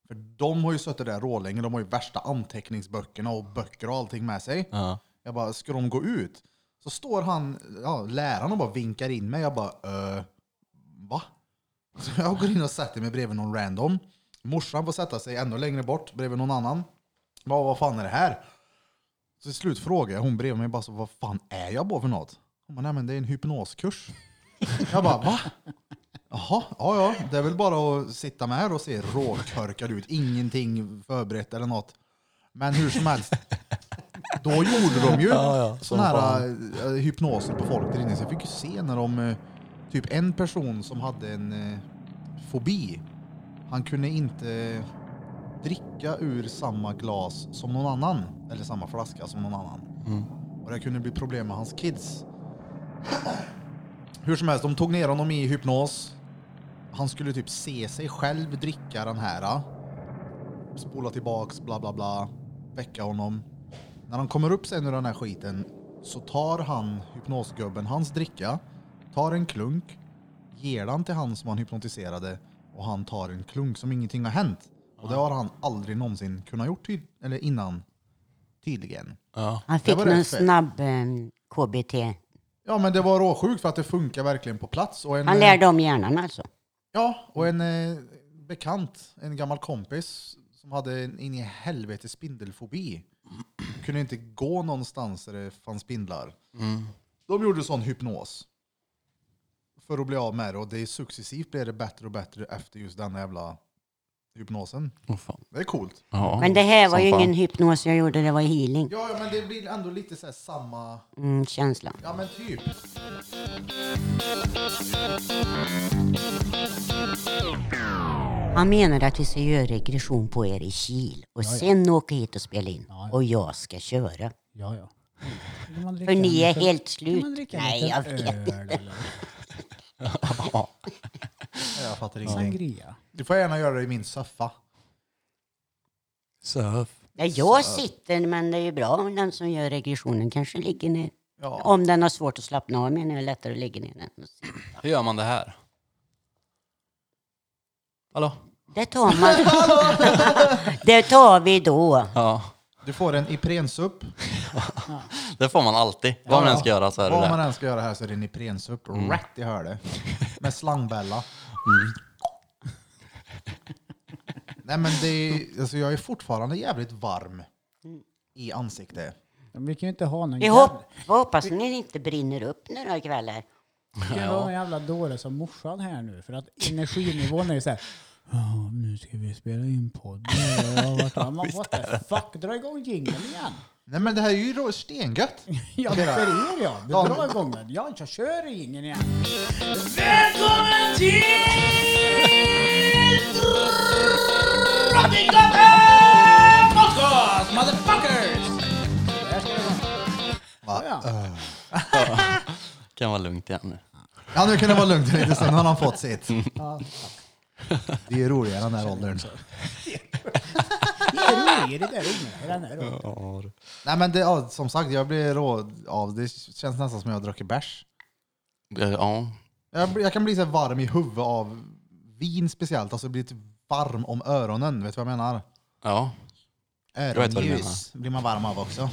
För de har ju suttit där rålänge. De har ju värsta anteckningsböckerna och böcker och allting med sig. Ja. Jag bara, ska de gå ut? Så står han, ja, läraren och bara vinkar in mig. Jag bara, eh, va? Så jag går in och sätter mig bredvid någon random. Morsan får sätta sig ännu längre bort bredvid någon annan. Vad, vad fan är det här? Så till slut frågar jag hon bredvid mig bara så, vad fan är jag på för något? Hon bara, nej men det är en hypnoskurs. jag bara, va? Jaha, ja ja, det är väl bara att sitta med här och se råkörkad ut. Ingenting förberett eller något. Men hur som helst, då gjorde de ju Ja, ja, som sådana här eh, hypnoser på folk där inne. Så jag fick ju se när de, eh, typ en person som hade en eh, fobi, han kunde inte dricka ur samma glas som någon annan, eller samma flaska som någon annan. Mm. Och det kunde bli problem med hans kids. Hur som helst, de tog ner honom i hypnos. Han skulle typ se sig själv dricka den här. ah. Spola tillbaks, bla bla bla. Väcka honom. När han kommer upp sen ur den här skiten så tar han hypnosgubben hans dricka, tar en klunk, ger den till han som han hypnotiserade och han tar en klunk som ingenting har hänt. Och det har han aldrig någonsin kunnat gjort ty- eller innan, tydligen. Ja. Han fick var någon rätt fett. snabb eh, KBT. Ja men det var råsjukt för att det funkar verkligen på plats. Och en, Han lärde om hjärnan alltså. Ja, och en eh, bekant, en gammal kompis som hade en in i helvete spindelfobi. *clears throat* Kunde inte gå någonstans där det fanns spindlar. De gjorde sån hypnos. För att bli av med det och det är successivt blev det bättre och bättre efter just den jävla hypnosen. Åh, fan. Det är coolt. Ja, Men det här var som ju fan. ingen hypnos jag gjorde, det var healing. Ja, ja, men det blir ändå lite så här samma... Mm, känslan. Ja, men typ. Han menar att vi ska göra regression på er i Kil och sen åka hit och spela in. Och jag ska köra. Ja, ja. Vill man dricka För ni är en liten- helt vill slut. man dricka en Nej, liten jag vet. öl eller Jag fattar ingenting. Sangria. Du får gärna göra det i min soffa. Surf. Nej, jag sitter, men det är ju bra om den som gör regressionen kanske ligger ner. Ja. Om den har svårt att slappna av menar jag lättare att ligga ner. den. Hur gör man det här? Hallå? Det tar *laughs* man. det tar vi då. Ja. Du får en Iprensupp. Det får man alltid. Vad man än ska göra så är det Mm. Vad man det. än ska göra här så är det Niprensupp rätt i hörde. Med slangbella. Mm. *laughs* Nej men det är, alltså jag är fortfarande jävligt varm i ansiktet. Men Vi kan ju inte ha någon Vi jävla, hopp, vi hoppas ni inte brinner upp några kvällar. vi kan ju ha någon jävla dåre som morsan här nu. För att energinivån är ju såhär. Ja, nu ska vi spela in podden. *laughs* Ja, vart har man- What the fuck? Dra igång jingeln igen. Nej men det här är ju rå- stengött. Ja, Det det där. är ja. Du drar igång den. Ja, jag kör ingen igen. Välkommen till Drottninggatan Podcast, motherfuckers! Va? Kan vara lugnt igen nu. Ja nu kan det vara lugnt en liten stund, nu har han fått sitt. Det är roligare den här åldern. Det är roligt, det är roligt. Det är den här roligt. Nej men det, ja, som sagt, jag blir rå av det. känns nästan som jag har druckit bärs. Eh, Ja, Jag, blir- jag kan bli så här varm i huvudet av vin speciellt. Alltså jag blir typ varm om öronen, vet du vad jag menar? ja. vet vad du Öronljus blir man varm av också.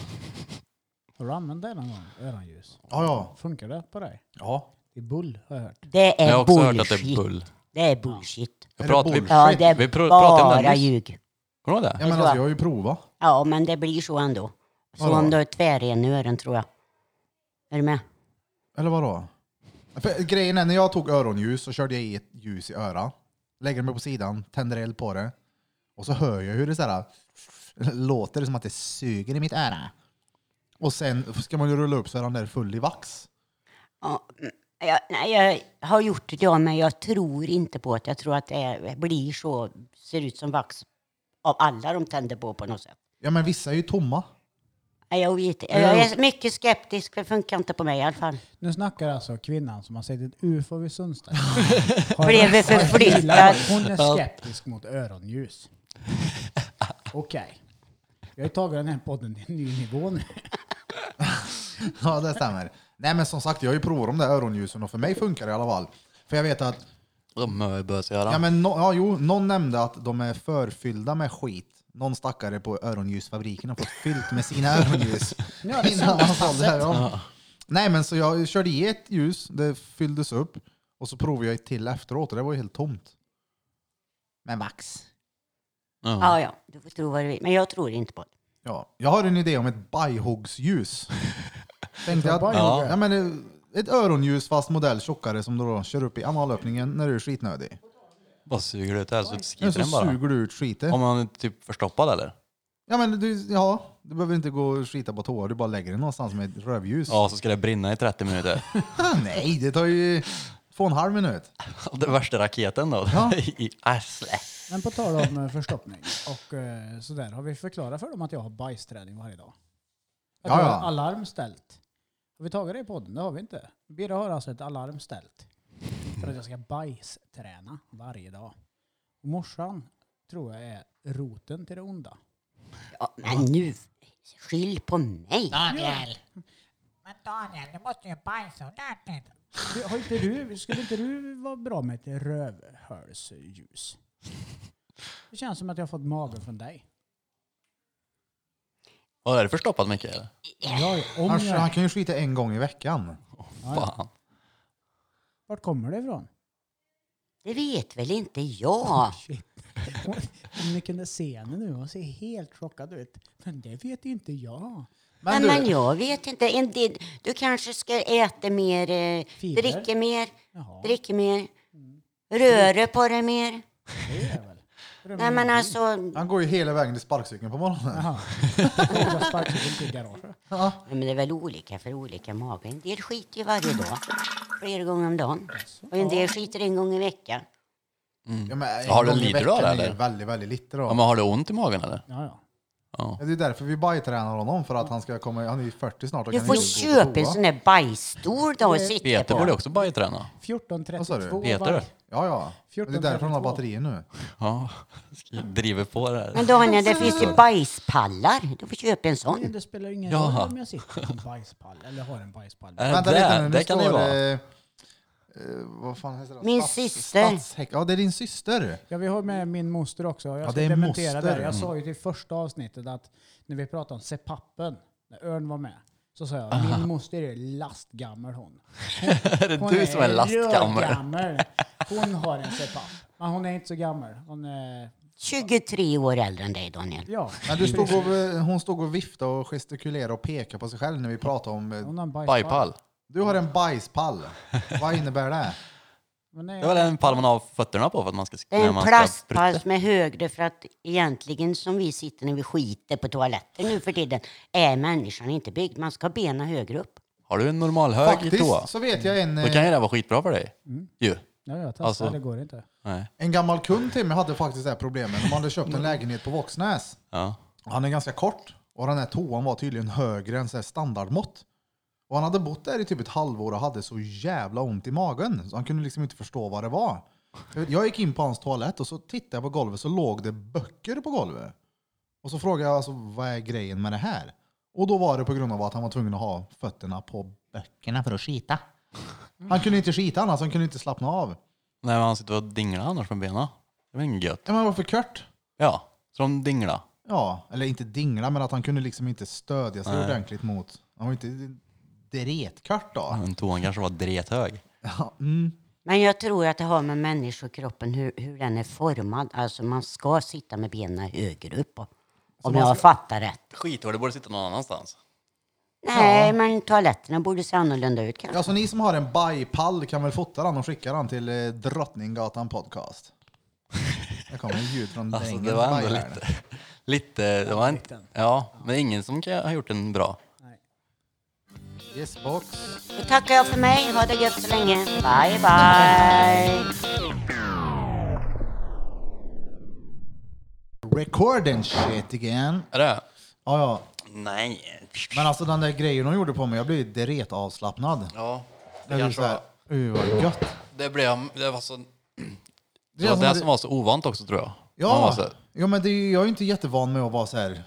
Har du använt det någon gång? Öronljus? Ja, ja. Funkar det på dig? ja. Det är bull, har jag hört. Det Men är jag har också bullshit. hört att det är bull. Det är bullshit. Jag Är pratar, det vi, bull? Ja, det är Vi pr- pratade om det bara nyss. ljug. kommer du ihåg det? Jag, menar, så. alltså, jag har ju provat. Ja, men det blir så ändå. Så Vadå? om du är tvärren i öronen tror jag. Är du med? Eller vadå? För, grejen är, när jag tog öronljus så körde jag i ett ljus i örat. Lägger mig på sidan, tänder eld på det. Och så hör jag hur det så här, *laughs* låter som att det suger i mitt öra. Och sen ska man ju rulla upp så är han där full i vax. Ja, mm, jag, nej, jag har gjort det, ja, men jag tror inte på det. Jag tror att det är, blir så, ser ut som vax av alla de tänder på på något sätt. Ja men vissa är ju tomma. Nej, Jag, vet, Jag jag har är mycket skeptisk, för det funkar inte på mig i alla fall. Nu snackar alltså kvinnan som har sett ett ufo vid *laughs* Sundstedt. Blev vi förflyttad? Hon är skeptisk mot *laughs* öronljus. Okej. Jag har tagit den här podden till en ny nivå nu. *laughs* Ja, det stämmer. Nej, men som sagt, jag har ju provat de där öronljusen och för mig funkar det i alla fall. För jag vet att, De möbösgöra. ja men nå- ja, jo, någon nämnde att de är förfyllda med skit. Någon stackare på öronljusfabriken har fått fyllt med *laughs* sina öronljus. Ja, det är innan han sålde det. Ja. Nej, men så jag körde i ett ljus, det fylldes upp och så provade jag ett till efteråt och det var ju helt tomt. Men vax. Ja. Ja, ja, du får tro vad du vill. Men jag tror inte på det. Ja, jag har en idé om ett bajhoggsljus. Tänkte att, Ja. ja. men det- ett öronljus fast modell tjockare som du då kör upp i analöppningen när du är skitnödig. Bara suger du ut det här så skriver Men så den bara. suger du ut skitet. Om man är typ förstoppad eller? Ja, men du, ja, du behöver inte gå och skita på toa, du bara lägger det någonstans med ett rövljus. Ja, så ska det brinna i *laughs* 30 minuter. Ah, nej, det tar ju två och en halv minut. Det värsta raketen då. Ja. *laughs* I arsle. Men på tal om eh, förstoppning och eh, sådär. Har vi förklarat för dem att jag har bajsträning varje dag? Att Ja, jag ja. har alarm ställt. Har vi tagit det i podden? Det har vi inte. Birra har alltså ett alarm ställt. För att jag ska bajsträna varje dag. Och morsan tror jag är roten till det onda. Ja, men nu, skilj på mig. Daniel! Men Daniel, du måste ju bajsa ordentligt. Du, Har inte du, skulle inte du vara bra med ett rövhölsljus? Det känns som att jag har fått magen från dig. Vad är det förstoppat mycket eller? Jag, om Han, Alltså, han jag, kan ju skita en gång i veckan. Fan. vart kommer det ifrån? Det vet väl inte jag. Shit. Hon- Om ni kunde se henne nu, hon ser helt chockad ut. Men det vet inte jag. Men Men, du- men jag vet inte. En del, du kanske ska äta mer, eh, Fiber. dricka mer, Jaha, dricka mer, röra på dig mer. det är väl. Nej men alltså, Han går ju hela vägen till sparkcykeln på Mm. morgonen. Jaha. Jag sparkade inte i garaget. nej, men det är väl olika för olika magar. En del skiter ju varje dag, flera gånger om dagen. Och en del skiter en gång i veckan. Ja, men en Har du gång i lider du veckan av det, är ju eller? Väldigt, väldigt lite då. Ja, men har du ont i magen eller? Ja, ja. Ja. Ja, Det är därför vi bajtränar honom, för att han ska komma, han är ju 40 snart. och Du kan får inte gå på köpa en toa. sån där bajsstol då och sitta Peter borde på. också bajträna. Vad sa du? 14.32 Peter? varje- Ja, ja. det är 14.32. därför han har batterier nu. Ja. Ska jag Driver på det här. Men Daniel, det finns ju bajspallar. Du får köpa en Men sån. Det spelar ingen Ja. roll om jag sitter på en bajspall eller har en bajspall. Är Vänta det, lite där? nu, nu det kan det ju står vara. eh, eh, vad fan heter det? Min syster. Statshäck. Ja, det är din syster. Ja, vi har med min moster också. Jag Ja, ska det är dementera moster. det. Jag Mm. sa ju till första avsnittet att när vi pratade om sepappen, när Örn var med, så sa jag min moster är lastgammal hon. *laughs* Är det du som är lastgammal? *laughs* rödgammal. Hon har en CPAP. Men hon är inte så gammal. Hon är, 23 år äldre än dig Daniel. ja. Men du stod och, eh, hon stod och viftade och gestikulerade och pekade på sig själv när vi pratade om... eh, Hon har en bajspall. Bajpall. Du har en bajspall. Vad innebär det? Men det Det var är, den pall man har fötterna på för att man ska... Det är när man en ska plastpall som är högre för att egentligen som vi sitter när vi skiter på toaletten nu för tiden är människan inte byggd. Man ska ha benen högre upp. Har du en normal *laughs* hög i toa? Faktiskt Mm. så vet jag en, Då eh, kan ju det vara skitbra för dig. Ju. ja, jag testar, Alltså- det går inte. Nej. en gammal kund till mig hade faktiskt det här problemet. De hade köpt Mm. en lägenhet på Våxnäs. Ja. Han är ganska kort och den här toan var tydligen högre än så här standardmått. Och han hade bott där i typ ett halvår och hade så jävla ont i magen så han kunde liksom inte förstå vad det var. Jag vet, Jag gick in på hans toalett och så tittade jag på golvet så låg det böcker på golvet. Och så frågade jag alltså, vad är grejen med det här? Och då var det på grund av att han var tvungen att ha fötterna på böckerna för att skita. Han kunde inte skita annars, han kunde inte slappna av. Nej, men han sitter och dinglar annars med benen. Det var inget gött. Ja, men det var för kört. Ja, så de dingla. Ja, eller inte dingla, men att han kunde liksom inte stödja sig ordentligt mot... Han var inte dretkört då. Men toan kanske var drethög. Ja, mm. Men jag tror att det har med människokroppen, hur, hur den är formad. Alltså man ska sitta med benen högre upp. Om jag fattar rätt. Skithår, det borde sitta någon annanstans. Nej, men toaletterna borde se annorlunda ut kanske. ja, så Alltså, ni som har en bajpall kan väl fota den och skicka den till eh, Drottninggatan podcast. Det kommer en ljud från *laughs* Alltså, drängen det som var ändå bajar. lite... Lite... Det var inte, ja, men ingen som kan ha gjort en bra. Yes, box. Då tackar jag för mig. Ha det gött så länge. Bye, bye. Recording shit again. Är det? Ja, ja. Nej. Men alltså den där grejen de gjorde på mig, jag blev dretavslappnad. Ja, Jag det blev kanske såhär, var... uh vad gött. Det blev... Det var så... är Det var som det det- som var så ovant också tror jag. Man var Ja, så här, ja men det, är ju- jag är ju inte jättevan med att vara så här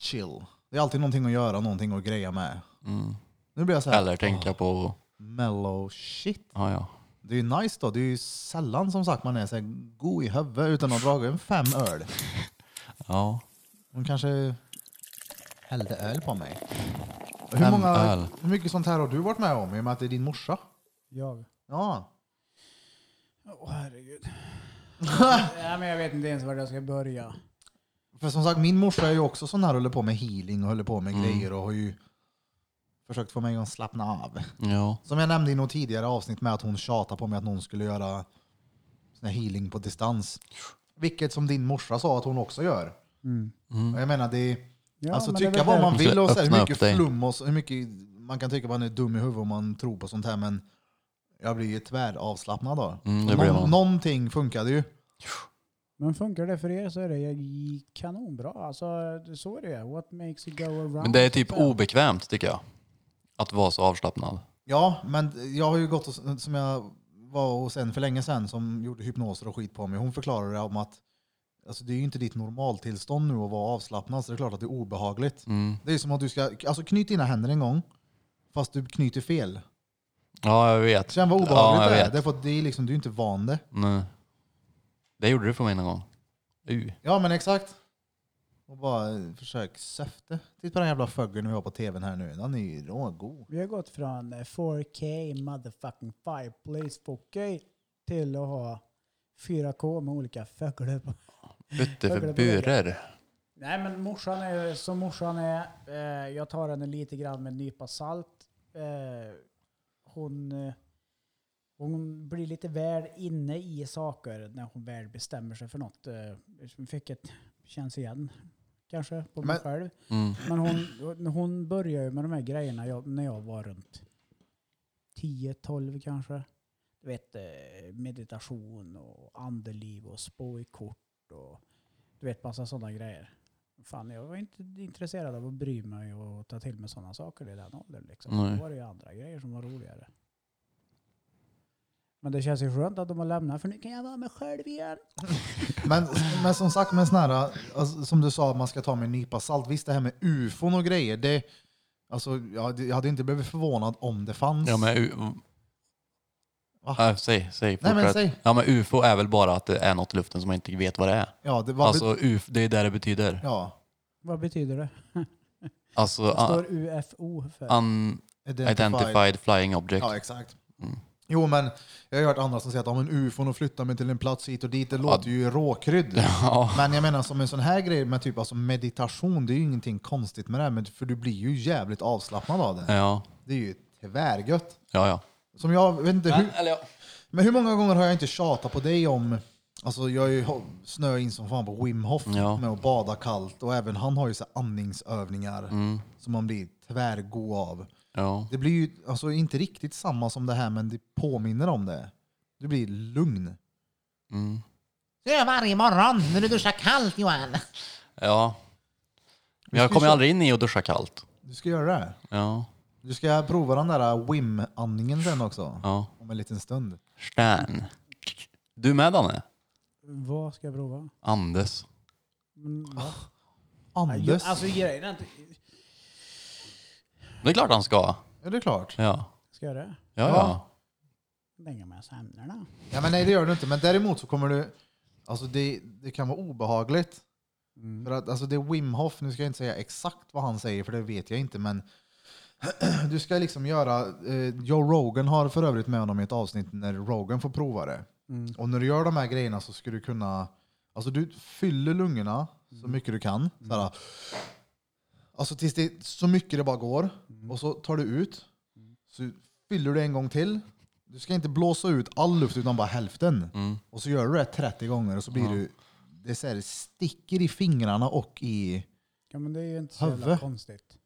chill. Det är alltid någonting att göra, någonting att greja med. Nu blir jag så här, Mm. Eller tänka på... mellow shit. Ja, ja. Det är ju nice då. Det är ju sällan som sagt man är så här god i huvudet utan att dra en fem öl. Ja. Hon kanske hällde öl på mig. Hur, Fem många, öl. hur mycket sånt här har du varit med om i och med att det är din morsa? Jag. Ja. Åh *laughs* herregud. Nej, men jag vet inte ens var jag ska börja. För som sagt, min morsa är ju också sån här håller på med healing och håller på Mm. med grejer och har ju försökt få mig att slappna av. Ja. Som jag nämnde i något tidigare avsnitt med att hon tjatar på mig att någon skulle göra sån här healing på distans. Vilket som din morsa sa att hon också gör. Mm. Och Jag menar det är, Ja, alltså men det är tycka väl vad man det. vill och så här, hur Öppna mycket upp dig. flum och så, hur mycket man kan tycka man är dum i huvudet om man tror på sånt här men jag blir ju tväravslappnad då. Mm, det Och blir någon- man. någonting funkade ju. Men funkar det för er så är det ju kanonbra. Alltså, det- så är det. What makes it go around? Men det är typ obekvämt tycker jag. Att vara så avslappnad. Ja, men jag har ju gått och, som jag var hos en för länge sedan som gjorde hypnoser och skit på mig. Hon förklarade det om att alltså, det är ju inte ditt normaltillstånd nu att vara avslappnad så det är klart att det är obehagligt. Mm. Det är ju som att du ska, alltså knyt dina händer en gång fast du knyter fel. Ja, jag vet. Känn vad obehagligt ja, det jag är. Vet. Därför att det är liksom, du är inte van det. Nej. Det gjorde du för mig någon gång. Uh. Ja men exakt. Och bara eh, försök söfte. Titta på den jävla fuggeln vi har på tvn här nu. Den är ju rågod. Vi har gått från eh, 4K motherfucking fireplace 4K till att ha 4K med olika fögglor på. Ute Fuglar för på burer. Nej men morsan är som morsan är. Eh, jag tar henne lite grann med en nypa salt. Eh, hon, eh, hon blir lite väl inne i saker när hon väl bestämmer sig för något. Eh, som fick ett känns igen kanske på mig Men- själv. Mm. Men hon, hon började ju med de här grejerna jag, när jag var runt 10-12 kanske. Du vet eh, meditation och andeliv och spå i kort och du vet massa sådana grejer. Fan, jag var inte intresserad av att bry mig och ta till mig sådana saker i den åldern. Liksom. Nej. Då var det ju andra grejer som var roligare. Men det känns ju skönt att de har lämnat för nu kan jag vara mig själv igen. Men, men som sagt, med sån här, alltså, som du sa, man ska ta med en nypa salt. Visst, det här med ufon och grejer, det, alltså, jag, hade, jag hade inte blivit förvånad om det fanns. Ja, men, u- Va? Nej, säg, säg. men fortsätt. säg. Ja, men UFO är väl bara att det är något i luften som man inte vet vad det är. Ja, det var alltså, UFO, det är det det betyder. ja. Vad betyder det? Alltså Det uh, står UFO för. unidentified flying object. Ja, exakt. Jo, men jag har hört andra som säger att ja, men ufon och flyttar mig till en plats hit och dit, det låter ju råkrydd. *laughs* Ja. Men jag menar som en sån här grej med typ alltså meditation, det är ju ingenting konstigt med det, här, men för du blir ju jävligt avslappnad av det. Ja, Det är ju tvärgött. ja. ja. Som jag, vet inte, hur, Men, eller, ja. men hur många gånger har jag inte tjatat på dig om, alltså jag är ju ho- snö in som fan på Wim Hof Ja. med att bada kallt och även han har ju så här andningsövningar som man blir tvärgo av. ja. Det blir ju alltså, inte riktigt samma som det här, men det påminner om det. Du blir lugn. Det gör jag varje morgon när du duschar kallt Johan. Ja. Men jag ska kommer ju aldrig in i att duscha kallt. Du ska göra det. Ja. Du ska prova den där Wim-andningen sen också. ja. Om en liten stund. Stan. Du med Danne? Vad ska jag prova? Andes. Andes. Alltså grejen är inte... Det är klart han ska. Är det klart? Ja. Ska jag det? Ja, ja. Ja. Länge med sömnerna. Ja, men nej, det gör du inte. Men däremot så kommer du... Alltså det, det kan vara obehagligt. För att, alltså det är Wim Hof, nu ska jag inte säga exakt vad han säger för det vet jag inte, men *clears throat* du ska liksom göra... Eh, Joe Rogan har för övrigt med honom i ett avsnitt när Rogan får prova det. Och när du gör de här grejerna så ska du kunna... Alltså du fyller lungorna så mycket du kan. Såhär, alltså tills det, så mycket det bara går. Och så tar du ut. Så fyller du en gång till. Du ska inte blåsa ut all luft utan bara hälften. Mm. Och så gör du det 30 gånger och så blir du... Det är så här, sticker i fingrarna och i... Ja men det är ju inte så jävla Huvud. konstigt.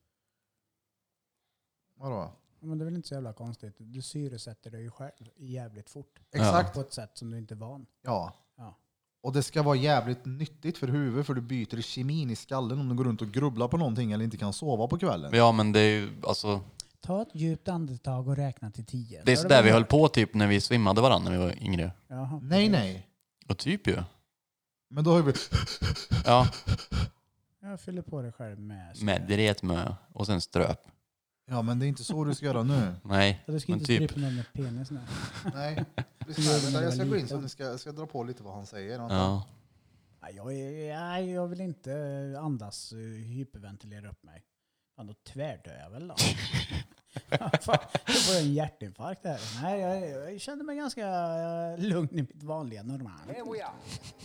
Vadå? Ja, men det är väl inte så jävla konstigt. Du syresätter dig ju själv jävligt fort. Exakt. På ett sätt som du inte är van. Ja. Ja. Och det ska vara jävligt nyttigt för huvudet för du byter kemin i skallen om du går runt och grubblar på någonting eller inte kan sova på kvällen. Ja men det är ju alltså. Ta ett djupt andetag och räkna till tio. Det är sådär vi höll på typ när vi svimmade varandra när vi var yngre. Jaha. Nej, nej. Och typ ju. Men då har vi... Ja. Jag fyller på dig själv med... Med dret med och sen ströp. Ja, men det är inte så du ska göra *laughs* nu. Nej. Ja, du ska Men inte typ. strypa någon med penis nu. Nej. gör det när du Jag ska var gå in liten. så ni ska, jag ska dra på lite vad han säger. Ja. Nej, jag, är- nej, jag vill inte andas, eh, hyperventilera upp mig. Fan, då tvärdör jag *laughs* väl då. Fan, Då får jag en hjärtinfarkt här. Nej, jag, jag kände mig ganska eh, lugn i mitt vanliga normala. Here we are.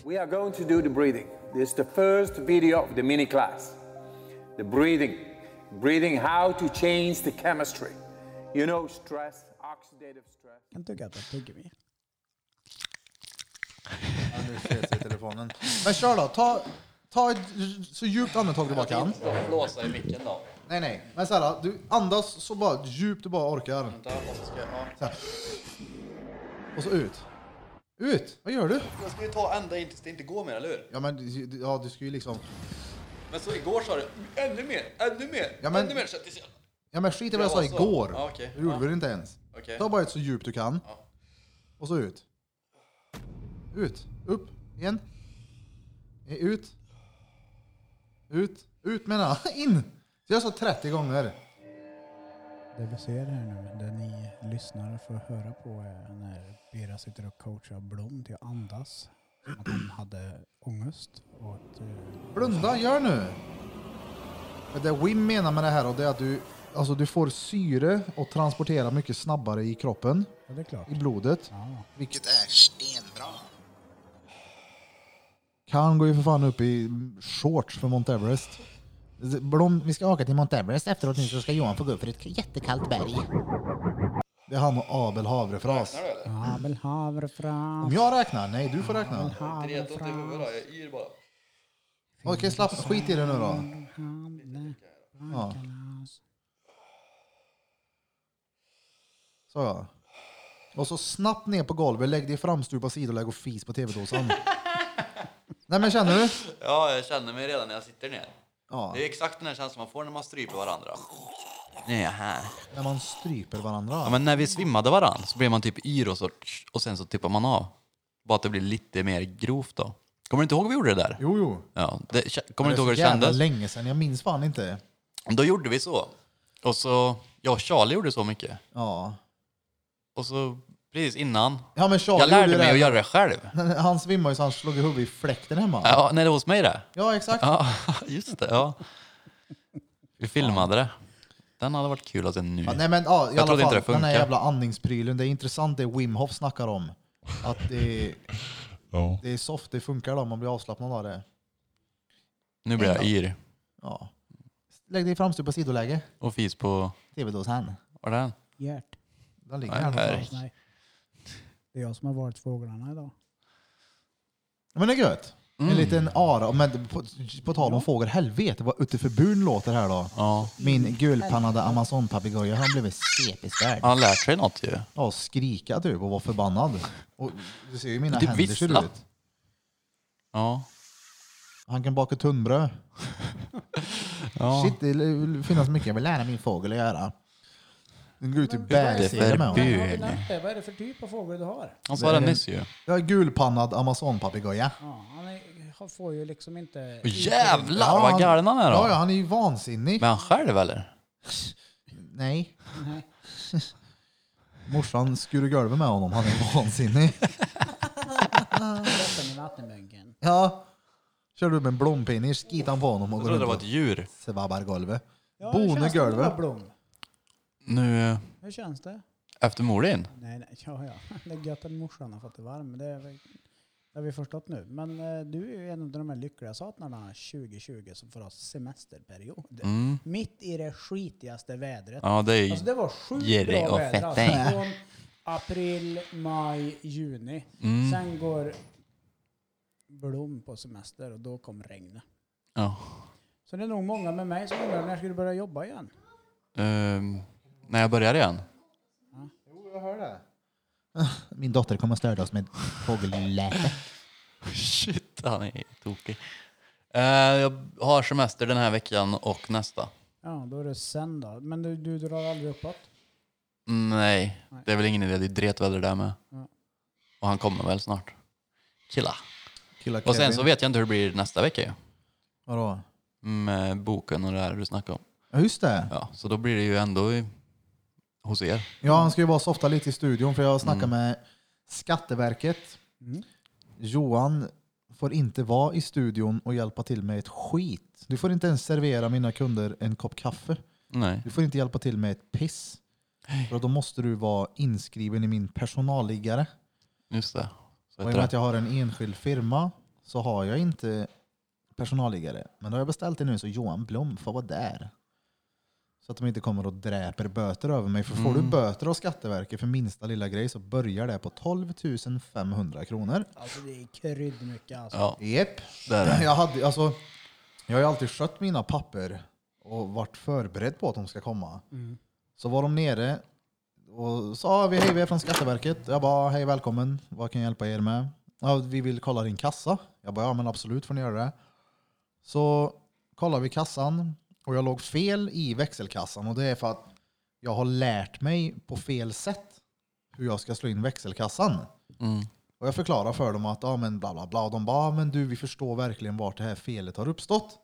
We are going to do the breathing. This is the first video of the mini class. The breathing. Breathing, how to change the chemistry. You know, stress, oxidative stress. Kan tugga på ett tuggummi. Ja, nu sket sig telefonen. Men kör då. Ta, ta ett så djupt andetag du bara kan. Blåsa i micken då. Nej, nej. Men så här, du andas så bara djupt du bara orkar. Så här. Och så ut. Ut! Vad gör du? Jag ska ju ta ända in tills det inte går mer, eller hur? Ja, men du- ja, du ska ju liksom... Men så igår sa du ännu mer, ännu mer, Ja, men- ännu mer, så tills jag... Ja, men skit i vad jag sa Ja, så. igår. Ja, okej. Det gjorde Ja. vi inte ens. Okej. Ta bara ett så djupt du kan. Ja. Och så ut. Ut. Upp. Igen. Eh, Ut. Ut. Ut menar jag. *laughs* In! Så jag sa 30 gånger. Det vi ser här nu, det ni lyssnare får höra på är när Bira sitter och coachar Blom till att andas. Att han hade ångest. Och att, eh, Blunda, gör nu! För det Wim menar med det här och det är att du, alltså du får syre och transportera mycket snabbare i kroppen, ja, det är klart. i blodet. Ja. Vilket är stenbra. Kan går ju för fan upp i shorts för Mount Everest. Blom, vi ska åka till Mount Everest efteråt nu så ska Johan få gå upp för ett jättekallt berg. Det är han och Abel Havrefras. Abel havrefras. Om jag räknar? Nej, du får räkna. Havrefras. Jag yr bara. Okej, slapp. Skit i det nu då. Mm. Hamne. Ja, så ja. Och så snabbt ner på golvet, lägg dig i framstupa sidoläge och fis på tv-dosan. Nej men känner du? Ja, jag känner mig redan när jag sitter ner. Ja, Det är exakt den här känslan man får när man stryper varandra. Nu är jag här. när man stryper varandra. Ja, men när vi svimmade varandra så blev man typ yr och, så, och sen så tippar man av. Bara att det blir lite mer grovt då. Kommer du inte ihåg hur vi gjorde det där? Jo, jo. Ja, det, kommer du inte ihåg hur det så jävla kändes? länge sedan, jag minns fan inte. Då gjorde vi så. Och så, jag och Charlie gjorde så mycket. Ja. Och så precis innan. Ja men Charlie Jag lärde gjorde mig att det. göra det själv. *laughs* Han svimmade ju så han slog i huvudet i fläkten hemma. Ja, *laughs* nej, det var hos mig det. Ja, exakt. Ja, just det. Ja. Vi filmade det. Den hade varit kul att se nu. Ja, nej men ja, i Mm. Jag alla trodde fall, inte det den här funkar. jävla andningsprylen. Det är intressant det Wim Hof snackar om. Att *laughs* det, Ja. det är soft, det funkar då, man blir avslappnad av det. Nu blir jag yr. Ja. Lägg dig i framstup på sidoläge. Och fis på... TV-dosan. Var det den? Gert. Den ligger Nej, här här. någonstans. Nej. Det är jag som har varit fåglarna idag. Men det är gött. Mm. En liten ara. Men på, på tal om fågel, helvete vad utifrån buren låter här då. Ja. Min gulpannade amazonpapegoja, han blev CP-stärd. Han har lärt sig något ju. Ja, skrika typ och vara förbannad. Och du ser ju hur mina Du händer vissla. ser ut. Ja. Han kan baka tunnbröd. *laughs* ja. Shit, det l- finns mycket jag vill lära min fågel att göra. Den går ut i är det bärsida för med honom. bu- Vad har vi Björn. lärt dig? Vad är det för typ av fågel du har? Han sa det nyss ju. Jag är gulpannad amazonpapegoja. Ja, han, är, han får ju liksom inte... Åh, jävlar vad han- galen han är Ja, ja, då. han är ju vansinnig. Men han själv eller? Nej. *laughs* Morsan skurade golvet med honom. Han är *laughs* vansinnig. Släpper med vattenbänken. Ja. Kör du med en blompinne, skita han på honom och Jag går trodde det runt var och ett djur. svabbar golvet. Ja, hur Bone känns det golvet. då, Blom? Nu eh, Hur känns det? efter mordin. Nej, nej, ja, *laughs* ja. Det är gött att morsan har fått det varm. men Det, är, väl- det har vi förstått nu. Men eh, du är ju en av de här lyckliga satnarna 2020 som får ha semesterperiod. Mm. Mitt i det skitigaste vädret. Ja, det är Alltså det var sjukt Jerry bra och väder. Fetteng. Alltså, från april, maj, juni. Mm. Sen går Blom på semester och då kom regnet. Ja. Så det är nog många med mig som undrar när ska du börja jobba igen? Ehm, när jag börjar igen. Jag hör det. Min dotter kommer att störa oss med fågelläte. *laughs* Shit, han är tokig. Eh, jag har semester den här veckan och nästa. Ja, då är det sen då. Men du, du drar aldrig uppåt? Nej, det är väl ingen idé. Det är dretväder där med. Ja. Och han kommer väl snart. Killa. Killar Och sen så Kevin. vet jag inte hur det blir nästa vecka ju. Vadå? Med boken och det här du snackade om. Ja, just det. Ja, så då blir det ju ändå i, hos er. Ja, han ska ju vara softa lite i studion för jag snackar med Skatteverket. Johan får inte vara i studion och hjälpa till med ett skit. Du får inte ens servera mina kunder en kopp kaffe. Nej. Du får inte hjälpa till med ett piss. För då måste du vara inskriven i min personalliggare. Just det. Så Och i och heter med att det. jag har en enskild firma så har jag inte personalliggare. Men då har jag beställt det nu så Johan Blom får vara där. Så att de inte kommer och dräper böter över mig. För får Mm. du böter av Skatteverket för minsta lilla grej så börjar det på 12 500 kronor. Alltså det är kryddmycket alltså. Ja, Jep. det är det. Jag, hade, alltså, jag har ju alltid skött mina papper och varit förberedd på att de ska komma. Så var de nere och sa "Ah, vi hej, vi är från Skatteverket. Jag bara hej välkommen, vad kan jag hjälpa er med? Ja, vi vill kolla din kassa. Jag bara ja men absolut får ni göra det. Så kollar vi kassan och jag låg fel i växelkassan och det är för att jag har lärt mig på fel sätt hur jag ska slå in växelkassan. Mm. Och jag förklarar för dem att ja, men bla bla bla. Och de bara, "Ja, men du vi förstår verkligen vart det här felet har uppstått.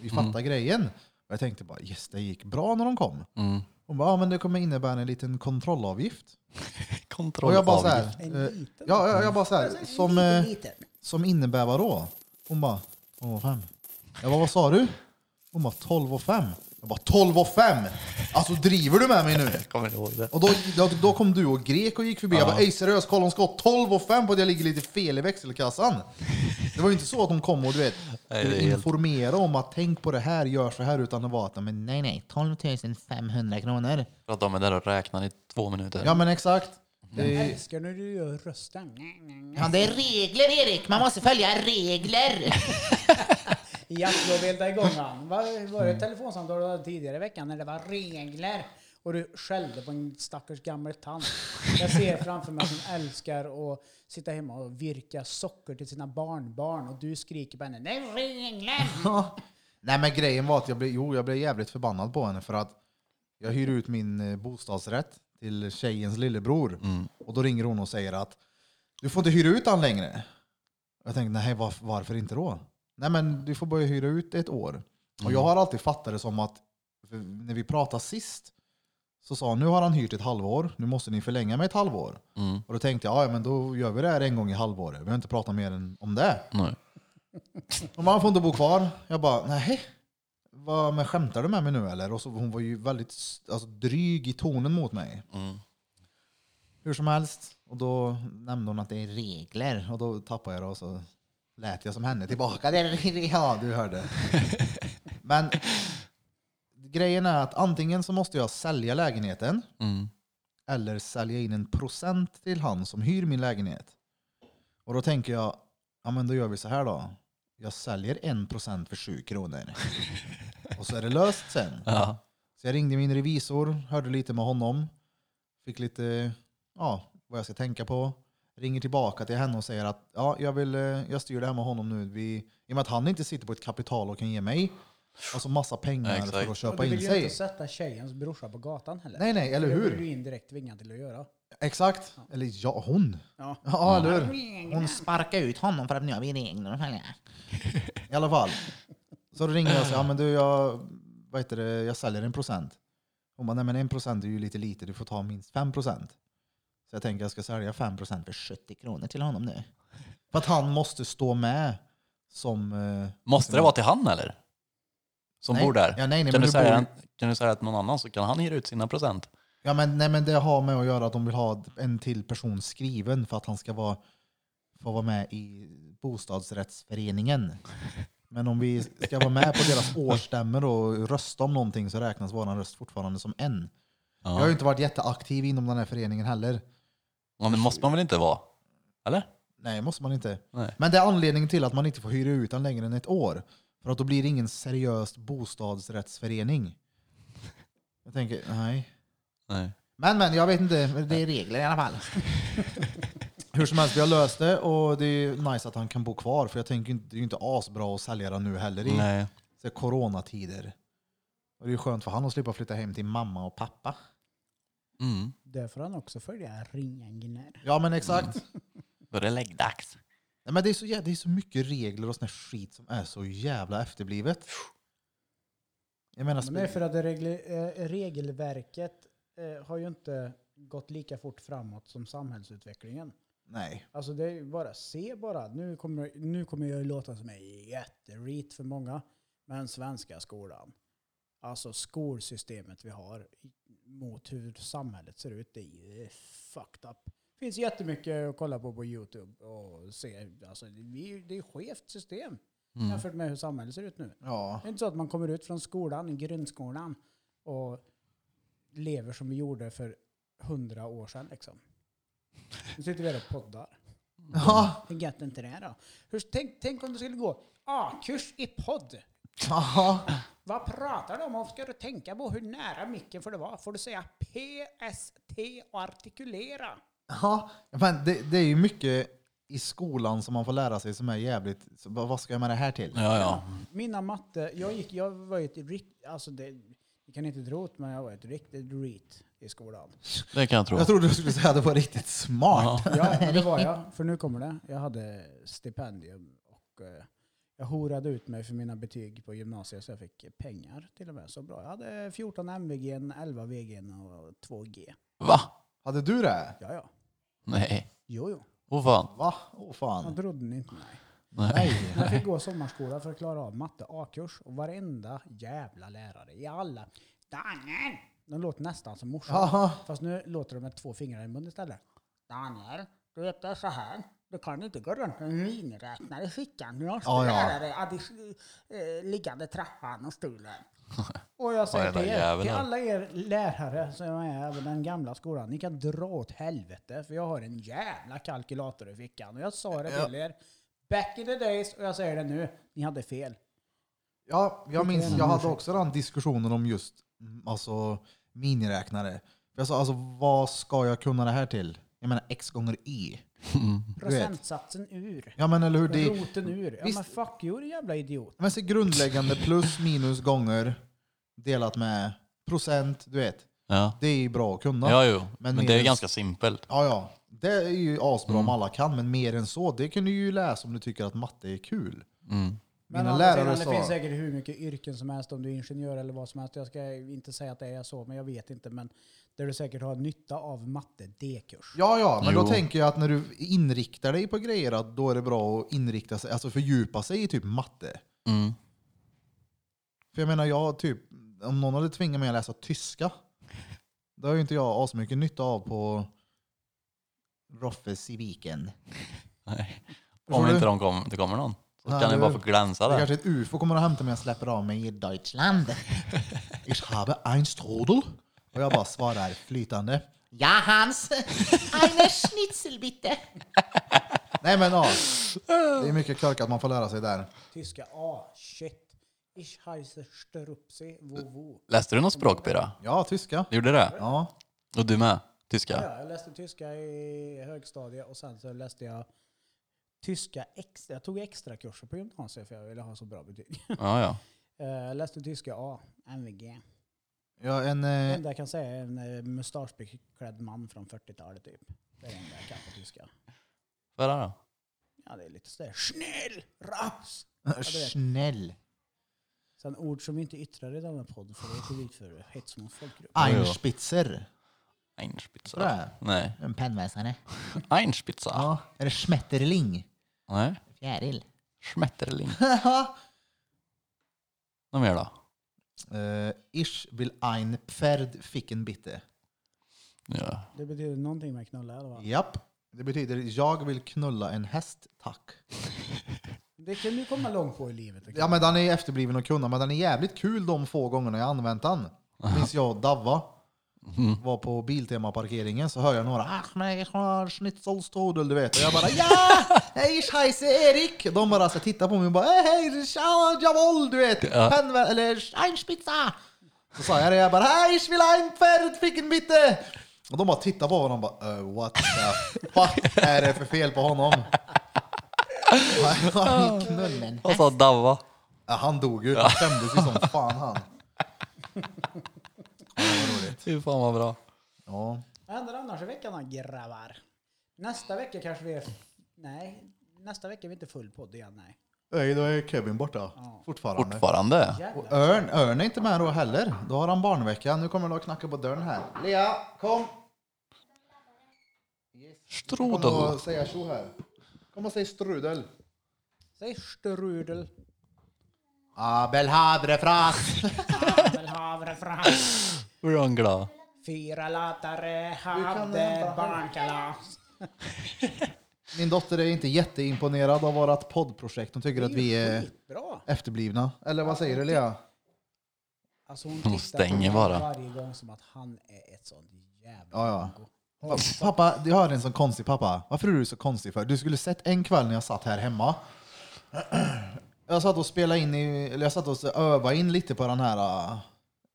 Vi fattar grejen. Och jag tänkte bara yes, det gick bra när de kom. Mm. De bara, ja, men det kommer innebära en liten kontrollavgift. Kontroll Och jag bara av- så här, eh, ja, jag, jag bara så här, som, eh, som innebär vad då? Hon bara, 12 och 5. Jag bara, vad sa du? Hon bara, 12 och 5. Jag bara, 12 och 5? Alltså driver du med mig nu? Jag kommer inte ihåg det. Och då, då, då kom du och grek och gick förbi. Jag bara, ej seriöst, kolla hon ska ha 12 och 5 på att jag ligger lite fel i växelkassan. Det var ju inte så att hon kom och du vet, Nej, det är ville helt- informera om att tänk på det här, gör så här, utan det var att men nej nej, 12 500 kronor. För att de är där och räknar i två minuter. Ja men exakt. Mm. Jag Det, älskar när du gör rösten. Ja, det är regler, Erik. Man måste följa regler. Ja, då veldade igång *laughs* han. Var, var Mm. det ett telefonsamtal du hade tidigare i veckan när det var regler? Och du skällde på en stackars gammal tant. Jag ser framför mig att hon älskar att sitta hemma och virka socker till sina barnbarn. Och du skriker på henne. Det är regler! nej men grejen var att jag blev, jo, jag blev jävligt förbannad på henne för att jag hyr ut min eh, bostadsrätt till tjejens lillebror. Och då ringer hon och säger att du får inte hyra ut han längre. Jag tänkte, nej var, varför inte då? Nej men du får börja hyra ut ett år. Och jag har alltid fattat det som att, för när vi pratade sist, så sa han, nu har han hyrt ett halvår, nu måste ni förlänga med ett halvår. Och då tänkte jag, "Ja, ja men då gör vi det här en gång i halvåret. Vi har inte pratat mer än om det. Nej. Och man får inte bo kvar. Jag bara, nej. vad, men skämtar du med mig nu eller? Och så, hon var ju väldigt s- alltså, dryg i tonen mot mig. Hur som helst. Och då nämnde hon att det är regler. Och då tappade jag det och så lät jag som henne tillbaka. Det är regler. *laughs* Ja, du hörde. Men grejen är att antingen så måste jag sälja lägenheten Mm. eller sälja in en procent till han som hyr min lägenhet. Och då tänker jag, ja men då gör vi så här då. Jag säljer en procent för 7 kronor. Och så är det löst sen. Ja. Så jag ringde min revisor, hörde lite med honom. Fick lite, ja, vad jag ska tänka på. Ringer tillbaka till henne och säger att ja, jag, vill, eh, jag styr det här med honom nu. Vi, I och med att han inte sitter på ett kapital och kan ge mig alltså massa pengar Ja, exakt. för att Och köpa du in vill ju inte sig. sätta tjejens brorsa på gatan heller. Nej, nej, eller Det hur? blir du indirekt tvingad till att göra. Exakt. Eller ja, hon. Ja. Ja, eller hur? Hon sparkade ut honom för att nu har vi regler. *laughs* I alla fall. Så då ringer jag och säger, ja men du, jag, vad heter det, jag säljer en procent. Hon bara, nej men en procent är ju lite lite, du får ta minst fem procent. Så jag tänker jag ska sälja fem procent för 70 kronor till honom nu. För att han måste stå med som... eh, Måste det vara till han eller? Som Nej. bor där? Ja, nej, nej, men kan, du du säga, bor- en- kan du säga att någon annan så kan han hyra ut sina procent? Ja, men, nej, men det har med att göra att de vill ha en till person skriven för att han ska vara, få vara med i bostadsrättsföreningen. Men om vi ska vara med på deras årsstämmor och rösta om någonting så räknas vår röst fortfarande som en. Jag har ju inte varit jätteaktiv inom den här föreningen heller. Ja, men måste man väl inte vara? Eller? Nej, måste man inte. Nej. Men det är anledningen till att man inte får hyra ut den längre än ett år. För att då blir det ingen seriös bostadsrättsförening. Jag tänker, nej. Nej. Men men, jag vet inte. Men Det är regler i alla fall. Hur som helst, vi har löst det och det är ju nice att han kan bo kvar för jag tänker inte- det är ju inte asbra att sälja den nu heller i Nej. så här coronatider. Och det är ju skönt för han att slippa flytta hem till mamma och pappa. Mm. Där får han också följa ringen. Ja men exakt. Då är det läggdags. Nej, men det, är så, jä- det är så mycket regler och sån här skit som är så jävla efterblivet. Jag menar, Men det är för att det regle- eh, regelverket eh, har ju inte gått lika fort framåt som samhällsutvecklingen. nej. Alltså det är ju bara, se bara. Nu kommer, nu kommer jag ju låta som en jättereat för många. Men svenska skolan, alltså skolsystemet vi har i- mot hur samhället ser ut, det är ju fucked up. Det finns jättemycket att kolla på på YouTube och se. Alltså, vi, det är ett skevt system jämfört med hur samhället ser ut nu. Ja. Det är inte så att man kommer ut från skolan, grundskolan och lever som vi gjorde för hundra år sedan liksom. Nu sitter vi här och poddar. Ja. Hur gött är inte det då? Hur, tänk, tänk om du skulle gå A-kurs i podd. Ja. Vad pratar du om? Och Ska du tänka på hur nära micken får det vara? Får du säga PST och artikulera? Ja, men det, det är ju mycket i skolan som man får lära sig som är jävligt... Så, vad vad ska jag med det här till? Ja, ja. Mina matte, jag, gick, jag var ju ett rikt, alltså det, ni kan inte tro det, men jag var ett riktigt reet i skolan. Det kan jag tro. Jag trodde du skulle säga att det var riktigt smart. Ja, men det var jag. För nu kommer det. Jag hade stipendium och eh, jag horade ut mig för mina betyg på gymnasiet så jag fick eh, pengar till och med. Så bra. Jag hade 14 MVG, 11 VG och 2G. Va? *laughs* Hade du det? Ja, ja. Nej. Jo, jo. Åh fan. Va? Åh Man fan. trodde ni inte mig. Nej. Jag fick gå sommarskola för att klara av matte A-kurs och varenda jävla lärare i alla... Daniel! De låter nästan som morsan. Jaha. Fast nu låter de med två fingrar i munnen istället. Daniel, du vet det är så här. Du kan inte gå runt med en miniräknare i fickan. Du måste Ja, ja. lära dig addition, eh, liggande trappan *laughs* och stolen. Och jag säger Varenda till er, jävel till här. alla er lärare som är över den gamla skolan, ni kan dra åt helvete för jag har en jävla kalkylator i fickan. Och jag sa det till er back in the days och jag säger det nu, ni hade fel. Ja, jag minns, jag hade också den diskussionen om just mm, alltså, miniräknare. Jag sa alltså, vad ska jag kunna det här till? Jag menar x gånger y. Procentsatsen ur. Ja men eller hur? Det, Roten ur. Ja Visst- men fuck you din jävla idiot. Men så grundläggande plus minus gånger delat med procent, du vet. Ja. Det är ju bra att kunna. Ja, jo. Men Men, det är ju minus- ganska simpelt. Ja, ja. Det är ju asbra om alla kan, men mer än så, det kan du ju läsa om du tycker att matte är kul. Men Mina å andra lärare sidan, det finns sa... säkert hur mycket yrken som helst, om du är ingenjör eller vad som helst. Jag ska inte säga att det är så, men jag vet inte. Men där du säkert har nytta av matte D-kurs. Ja, ja, men då Jo. tänker jag att när du inriktar dig på grejer, att Mm. då är det bra att inrikta sig, alltså fördjupa sig i typ matte. För jag menar, jag typ, om någon hade tvingat mig att läsa tyska, det har ju inte jag asmycket nytta av på Roffes i viken. Nej. Förstår Om du? inte de kom, det kommer någon. Så Nej, kan det det- bara få glänsa Det där. kanske ett ufo kommer att hämta mig och släpper av mig i *laughs* Deutschland. Ich habe ein Strudel. Och jag bara svarar flytande. Ja, Hans. Eine Schnitzel bitte. Nej, men ja. Det är mycket korkat man får lära sig där. Tyska, ah shit. Ich heiße Strupsi, wo wo. Läste du något språk, Pira? Ja, tyska. Du gjorde det? Ja. Och du med? Tyska? Ja, jag läste tyska i högstadiet och sen så läste jag tyska extra. Jag tog extra kurser på gymnasiet för jag ville ha så bra betyg. *laughs* Ja, ja. Eh, Jag läste tyska ah, A, MVG. ja en, Det eh, enda jag kan säga är en eh, mustaschbeklädd man från 40-talet typ. Det är det enda jag kan på tyska. Vad är det då? Ja, det är lite sådär schnell, raps. snäll. Sen ord som vi inte yttrar i denna podd för det är publik för hets mot folkgrupp. Einspitzer. Tror Einspitzer? jag. Nej. En pennvässare. Einspitzer? Ja. Eller schmetterling. Nej. Fjäril. Schmetterling. Något mer då? *laughs* Eh, ich will ein Pferd ficken bitte. Ja. Det betyder någonting med knulla eller vad? Japp. Det betyder jag vill knulla en häst, tack. Det kan du komma långt på i livet. Ja men den är efterbliven att kunna, men den är jävligt kul de få gångerna jag använt den. Minns jag och Davva var på Biltema-parkeringen så hör jag några Ach nej, ich har schnitzelstrudel du vet. Och jag bara ja! Hej scheisse Erik! De bara så tittar på mig och bara "Eh, hej, tja, jawohl du vet. Ja. Pennvä- eller einspitza! Så sa jag det, jag bara hej, ich will ein Pferd ficken bitte! Och de bara tittar på honom och bara "Eh, what the fuck är det för fel på honom? Han gick knullen. Vad sa Davva? Ja, han dog ju. Han skämdes ju som fan han. Fy fan vad bra. Ja. Vad händer annars i veckan då grabbar? Nästa vecka kanske vi är... Nej, nästa vecka är vi inte full podd igen nej. Nej, då är Kevin borta. Fortfarande. Fortfarande? Och Örn, Örn är inte med då heller. Då har han barnvecka. Nu kommer de att knacka på dörren här. Lea, kom! Kom Strudel. och säga tjo här. Kom och säg strudel. Säg strudel. Abelhavre fras! Abelhavre fram. Blir han glad? Fyra latare kan hade hämta- barnkalas. Min dotter är inte jätteimponerad av vårt poddprojekt. Hon tycker att vi är Bra. efterblivna. Eller vad säger du Lea? Alltså hon, tittar på stänger mig bara. varje gång som att han är ett sånt jävla... Ja, ja. Pa- Pappa, jag har en sån konstig pappa. Varför är du så konstig för? Du skulle sett en kväll när jag satt här hemma. *clears throat* Jag satt och spelade in, i, eller jag satt och övade in lite på den här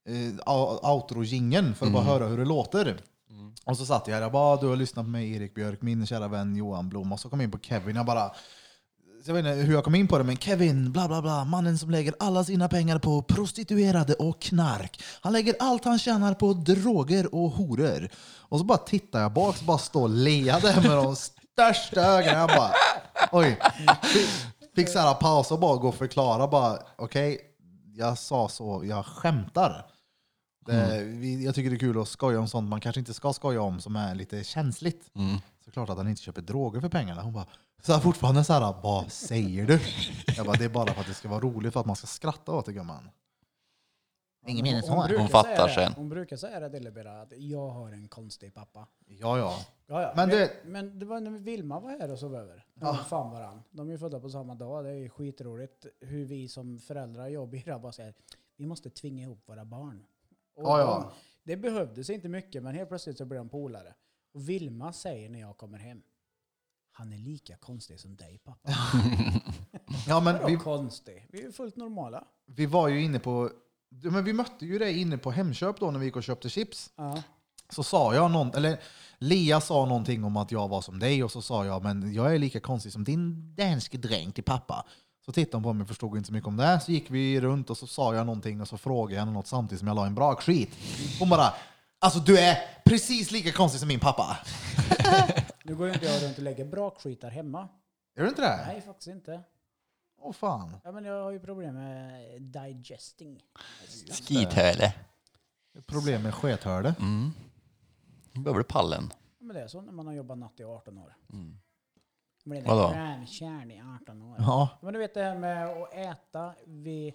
uh, outro-jingeln för att bara höra hur det låter. Och så satt jag här jag bara, "Ah, du har lyssnat på mig Erik Björk, min kära vän Johan Blom. Och så kom jag in på Kevin, jag bara, så jag vet inte hur jag kom in på det, men Kevin, bla bla bla, mannen som lägger alla sina pengar på prostituerade och knark. Han lägger allt han tjänar på droger och horor. Och så bara tittar jag bak, så bara står Lea där med de största ögonen. Jag bara, oj. Fick- Fick så här paus och bara gå och förklara bara, okej, jag sa så, jag skämtar. Det, vi, jag tycker det är kul att skoja om sånt man kanske inte ska skoja om som är lite känsligt. Såklart att han inte köper droger för pengarna. Hon bara, så här, fortfarande så här, vad säger du? Jag bara, det är bara för att det ska vara roligt, för att man ska skratta åt det gumman. Ingen mening så. brukar Hon fattar säga det. sen. Hon brukar säga det till Libera, att jag har en konstig pappa. Ja, ja. Ja, ja. Men Men, du- det... men det var när Vilma var här och sov över. De ah. fan varann. De är ju födda på samma dag. Det är ju skitroligt hur vi som föräldrar, jag och Birra, bara säger vi måste tvinga ihop våra barn. Och Ja, ja. de- Det behövdes inte mycket, men helt plötsligt så blir de polare. Och Vilma säger när jag kommer hem, han är lika konstig som dig pappa. ja men Vadå vi, konstig? Vi är ju fullt normala. vi var ju inne på, ja, men vi mötte ju dig inne på Hemköp då när vi gick och köpte chips. Ja. Så sa jag någon, eller Lea sa någonting om att jag var som dig och så sa jag men jag är lika konstig som din danske dräng till pappa. Så tittade hon på mig och förstod inte så mycket om det. Så gick vi runt och så sa jag någonting och så frågade jag henne något samtidigt som jag la en bra skit. Hon bara Alltså du är precis lika konstig som min pappa. Nu går ju inte jag runt och lägger brakskitar hemma. Är du inte det? Nej, faktiskt inte. Åh fan. Ja, men jag har ju problem med digesting. Skithöle. Problem med skethörde. Behöver du pallen? Ja, Men det är så när man har jobbat natt i 18 år. Mm. Blir Vadå? rävkärn i 18 år. Ja. Men du vet det här med att äta vid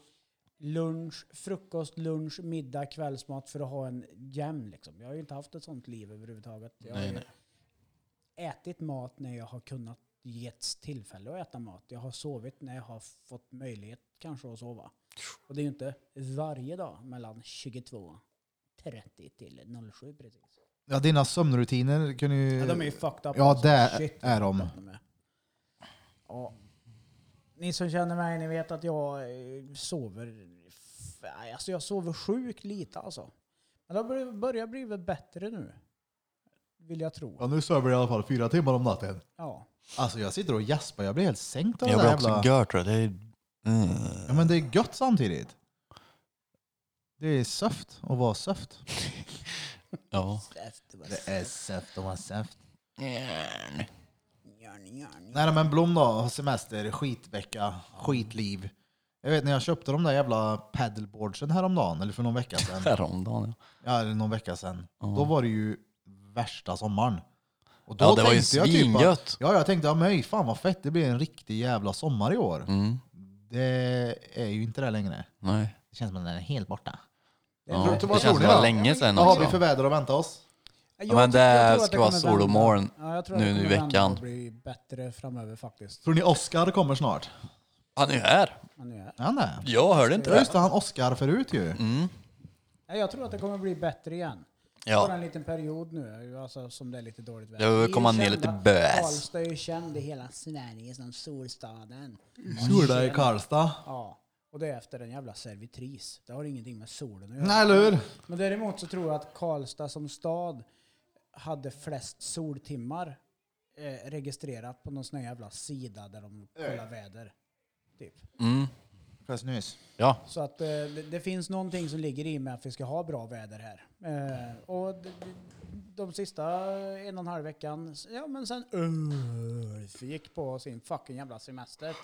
lunch, frukost, lunch, middag, kvällsmat för att ha en jämn. Liksom. Jag har ju inte haft ett sånt liv överhuvudtaget. Jag har Nej, ju nej. ätit mat när jag har kunnat getts tillfälle att äta mat. Jag har sovit när jag har fått möjlighet kanske att sova. Och det är ju inte varje dag mellan 22.30 till 07 precis. Ja, dina sömnrutiner kan ju... Ja, de är ju fucked up. Ja, alltså. det Shit, är de. vad är. Ja. Ni som känner mig, ni vet att jag eh, sover... f- Alltså jag sover sjukt lite alltså. Men det bör- börjar bli väl bättre nu. Vill jag tro. Ja, nu sover jag i alla fall fyra timmar om natten. Ja. Alltså jag sitter och gäspar, jag blir helt sänkt av Jag det där blir också jävla... gör tror jag. Det är... Mm. Ja, men det är gött samtidigt. Det är söft att vara söft. Ja. Det är söft att vara söft. Gör ni, gör ni. Nej men Blom då, har semester, skitvecka, skitliv. Jag vet när jag köpte de där jävla paddleboardsen häromdagen, eller för någon vecka sedan. Häromdagen ja. ja, eller någon vecka sedan. Då var det ju värsta sommaren. Och då Ja, det var ju tänkte jag typ att- svingött. Ja, jag tänkte, ja, men fan vad fett, det blir en riktig jävla sommar i år. Mm. Det är ju inte det längre. Nej. Det känns som att den är helt borta. Ja. tror- vad Det tror känns som ni det var då? länge sedan Vad har vi också. för väder att vänta oss? Jag Ja, men tror- jag tror det att ska vara kommer sol och vända. moln. Ja, jag tror nu att det i kommer vända veckan. och bli bättre framöver faktiskt. Tror ni Oscar kommer snart? Han är ju här. Men nu är- Ja, nej. Jag hörde inte Ja, det. just det, han Oscar förut Mm. ju. Ja, jag tror att det kommer bli bättre igen. Bara Ja. en liten period nu, alltså, som det är lite dåligt väder. Jag Vi är behöver ju komma ner kända- lite bös. Karlstad är ju känd i hela Sverige som solstaden. Sola i Karlstad. Ja, och det är efter en jävla servitris. Det har ingenting med solen att göra. Nej, eller hur? Men däremot så tror jag att Karlstad som stad hade flest soltimmar eh, registrerat på någon sån här jävla sida där de kollar väder. Typ. Mm. Fast nyss. Ja. Så att eh, det, det finns någonting som ligger i med att vi ska ha bra väder här. Eh, och de, de sista en och en halv veckan, s- ja men sen Ulf gick på sin fucking jävla semester.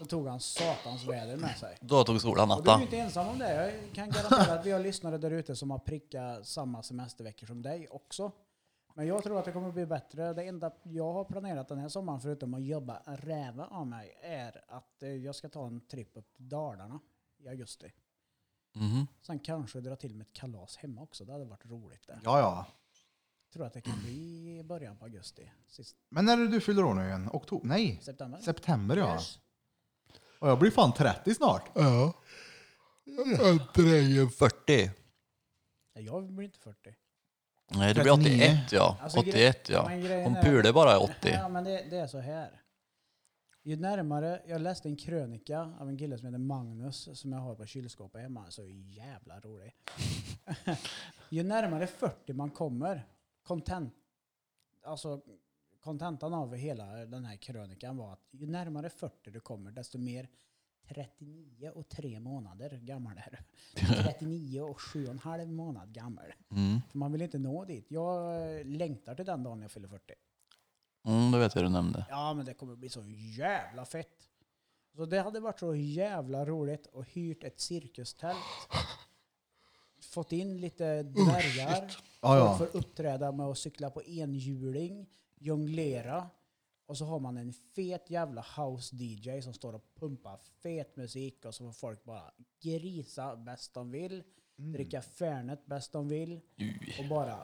Då tog han satans väder med sig. Då tog solen Och du är natta. ju inte ensam om det. Jag kan garantera att vi har lyssnare där ute som har prickat samma semesterveckor som dig också. Men jag tror att det kommer bli bättre. Det enda jag har planerat den här sommaren, förutom att jobba räva av mig, är att eh, jag ska ta en tripp upp till Dalarna i augusti. Mhm. Sen kanske dra till med ett kalas hemma också. Det hade varit roligt. Det. Ja, ja. tror att det kan bli i början på augusti. Sist Men när är det du fyller år nu igen? Oktober? Nej, september. september ja. Yes. Och jag blir fan 30 snart. Ja. Det är ju 40. Nej, Jag blir inte 40. Nej, det blir 39. 81 ja. Alltså, gre- 81 ja. men grejen Hon är- pular bara 80. Ja, men det, det är så här. Ju närmare, jag läste en krönika av en kille som heter Magnus som jag har på kylskåpet hemma. Så jävla rolig. *laughs* ju närmare 40 man kommer, content, alltså kontentan av hela den här krönikan var att ju närmare 40 du kommer desto mer 39 och 3 månader gammal är *laughs* du. 39 och 7,5 månad gammal. Mm. För man vill inte nå dit. Jag eh, längtar till den dagen jag fyller 40. Mm, det vet jag du nämnde. Ja, men det kommer bli så jävla fett. Så det hade varit så jävla roligt att hyrt ett cirkustält. Fått in lite dvärgar. Ja, ja. Folk får uppträda med att cykla på enhjuling, jonglera. Och så har man en fet jävla house-DJ som står och pumpar fet musik och så får folk bara grisa bäst de vill, Mm. dricka Fernet bäst de vill och bara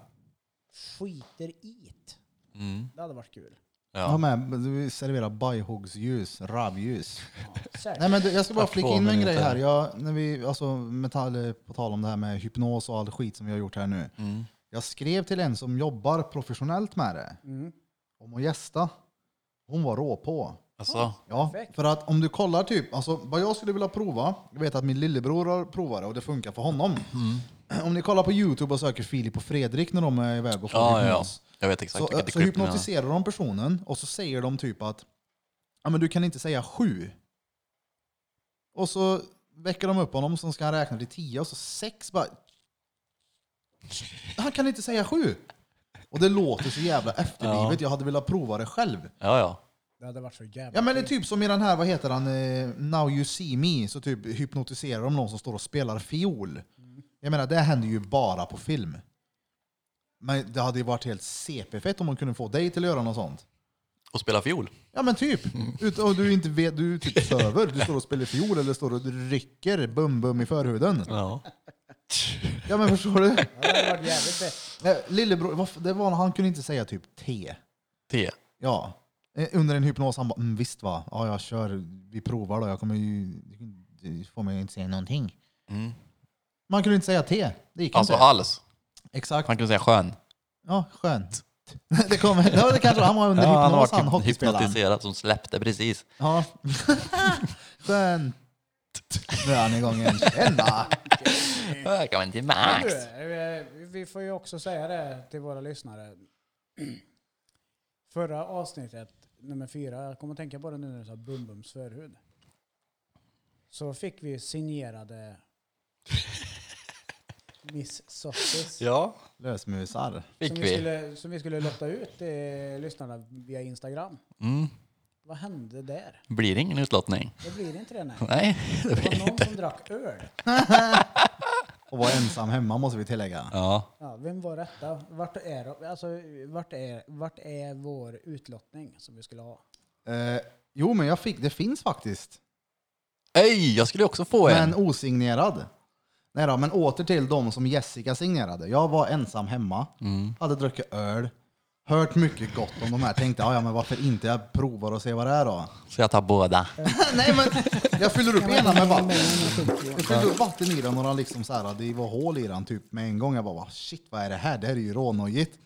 skiter i det. Mm. Det hade varit kul. Ja, Ja. men vi serverar bajhoggsljus, ravljus. Särskilt. Nej, men det- jag ska bara Tack, flika två in en minuter. grej här. Jag, när vi, alltså, metall, på tal om det här med hypnos och all skit som vi har gjort här nu. Mm. Jag skrev till en som jobbar professionellt med det Mm. om att gästa. Hon var rå på. Alltså, Ja, Perfekt. för att om du kollar typ, alltså vad jag skulle vilja prova, jag vet att min lillebror har provat det och det funkar för honom. Mm. Om ni kollar på Youtube och söker Filip och Fredrik när de är iväg och får ja, ja. hypnos. Jag vet exakt Så, vilket så klipp ni menar. hypnotiserar de personen och så säger de typ att ja, men du kan inte säga sju. Och så väcker de upp honom som ska han räkna till tio och så sex bara... Han kan inte säga sju! Och det låter så jävla efterblivet. Jag hade velat prova det själv. Ja, ja. Det hade varit så jävla Ja men det är typ som i den här, vad heter han, eh, Now You See Me, så typ hypnotiserar de någon som står och spelar fiol. Jag menar, det händer ju bara på film. Men det hade ju varit helt CP-fett om man kunde få dig till att göra något sånt. och spela fiol. Ja men typ. Ut, och du inte vet, du typ söver. Du står och spelar fiol eller står och rycker bum-bum i förhuden. Ja. Ja men förstår du? Det hade varit jävligt bäst. Nej, Lillebror, vad f- det var, han kunde inte säga typ T. T. Ja. Eh, Under en hypnos, han bara mm, visst va, ja jag kör, vi provar då, jag kommer ju, du får mig inte säga någonting. Mm. Man kunde inte säga T, det gick Alltså inte. alls. Exakt. Man kunde säga skön. Ja, skönt. *laughs* Det, kom, ja, det kanske han var under Ja, han hypnos, han, var hockeyspelaren. hypnotiserad som släppte precis. Ja. *laughs* Skönt. Nu är han igång igen. Tjena! Äh, Kan man inte max. Du, eh, vi får ju också säga det till våra lyssnare. *clears throat* Förra avsnittet, nummer fyra, jag kommer att tänka på det nu när du sa Bumbums förhud. Så fick vi signerade Miss Sottis. Ja, Lösmusar. fick som, vi. vi skulle, som vi skulle lotta ut till lyssnarna via Instagram. Mm. Vad hände där? Blir det ingen utlottning? Det blir inte det nej. Nej, *laughs* det Det blir var någon inte. som drack öl. Och var ensam hemma måste vi tillägga. Ja, Ja, vem var detta? Vart är, de- alltså, vart är, vart är vår utlottning som vi skulle ha? Eh, jo, men jag fick, det finns faktiskt. Ej, jag skulle också få en. Men osignerad. Nej då, men åter till de som Jessica signerade. Jag var ensam hemma, Mm. hade druckit öl, hört mycket gott om de här. Tänkte, "Ja, ja men varför inte? Jag provar och ser vad det är då. Så jag tar båda. Nej men, jag fyller upp ena med vatten. Jag fyllde upp vatten i den och den liksom så här, det var hål i den typ med en gång. Jag bara, "Va, shit vad är det här? Det här är ju rånojigt.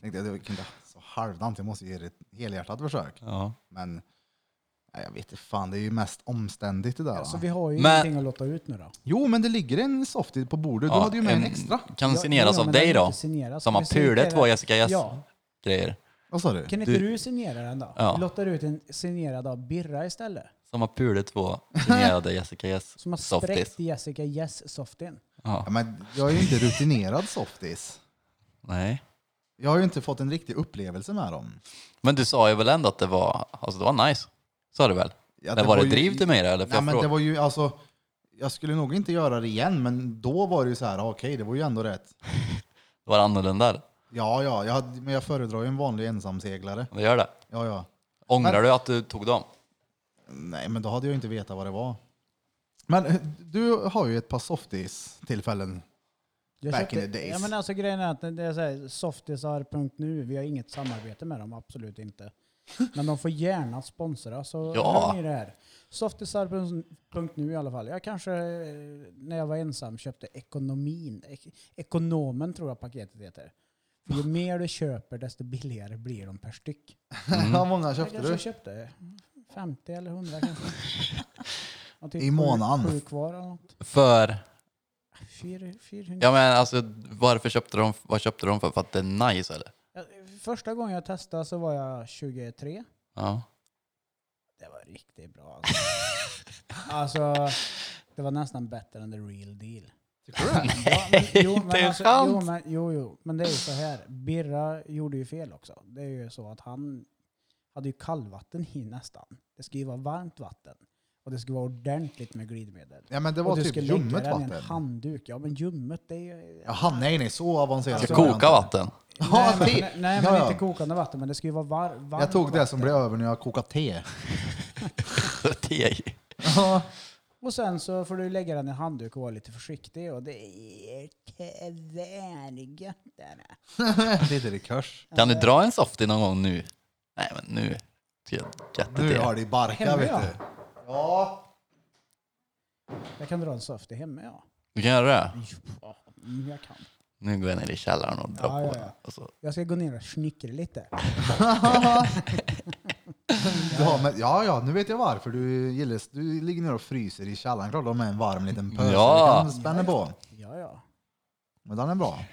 Tänkte jag, det kan inte så halvdant, jag måste ge det ett helhjärtat försök. Ja. Men, nej, jag vet inte fan, det är ju mest omständigt det där. Så va? Alltså, vi har ju Men- ingenting att lotta ut nu då. Jo, men det ligger en softie på bordet. Du Ja, hade ju med en, extra. Kan Ja, signeras ja, av men dig den är då. inte signerad. Som Ska har vi signera pulet den? två Jessica Jess Ja. grejer. Vad sa du? Kan inte Du- du, signera den då? Ja. Vi Lottar ut en signerad av Birra istället. Som har pulet två signerade Jessica Jess Som har softies. spräckt Jessica Yes softin. Ja, men jag är ju inte rutinerad softis. Nej. Jag har ju inte fått en riktig upplevelse med dem. Men du sa ju väl ändå att det var, alltså det var nice? Sa du väl? Ja, det var, det ju- driv till mig det, eller? För Nej, jag men det frågade- var ju alltså... Jag skulle nog inte göra det igen, men då var det ju så här, "Ah, okej, det var ju ändå rätt. det var annorlunda. Ja, ja, jag hade, men jag föredrar ju en vanlig ensamseglare. Det gör det. Ja, ja. Ångrar Men- du att du tog dem? Nej, men då hade jag ju inte vetat vad det var. Men eh, du har ju ett par softis-tillfällen. Jag Back in the days. Ja, men alltså, grejen är att det är så här, softisar.nu, vi har inget samarbete med dem, absolut inte. Men de får gärna *laughs* sponsra, så Ja. hör ni det här. Softisar.nu i alla fall. Jag kanske, eh, när jag var ensam, köpte ekonomin. Ek ekonomen tror jag paketet heter. För ju mer du köper, desto billigare blir de per styck. *laughs* Hur många Jag köpte kanske du? köpte 50 eller *laughs* 100 kanske. Och typ I månaden. sju- Sju kvar eller något. För, Fyra- 400. ja men alltså varför köpte de, vad köpte de för? För att det är nice eller? Ja, Eh, Första gången jag testade så var jag 23. Ja. Det var riktigt bra. *laughs* Alltså, alltså det var nästan bättre än the real deal. *laughs* *laughs* Ja, men, jo, det är men alltså, sant. jo, men, jo, jo, men det är ju så här. Birra gjorde ju fel också. Det är ju så att han hade ju kallvatten i nästan. Det ska ju vara varmt vatten. Och det ska vara ordentligt med glidmedel. Ja, men det var och du typ ska lägga ljummet den i en vatten. handduk. Ja men ljummet det är ju... Jaha, nej, nej, så avancerat. Ska var jag inte. koka vatten. *laughs* Ja, nej, men, det- nej, nej ja, men ja. inte kokande vatten men det ska ju vara var, varmt Jag tog det som vatten. blev över när jag kokade te. Te i. Och sen så får du lägga den i handduk och vara lite försiktig och det är tvärgött där. Lite likörs. Kan du dra en softie någon gång nu? Nej men nu ska jag jätte Nu te. har det barka, Hemma, vet ja. du. Ja. Jag kan dra en softie hemma ja. Du kan göra det? Mm, jag kan. Nu går jag ner i källaren och drar Ja, på ja, den. ja. Och så- Jag ska gå ner och snickra lite. Du har med, ja, ja, nu vet jag varför du gillar... Du ligger ner och fryser i källaren, klart de är en varm liten pös. Ja. Du kan spänna på. Ja, ja. Men den är bra.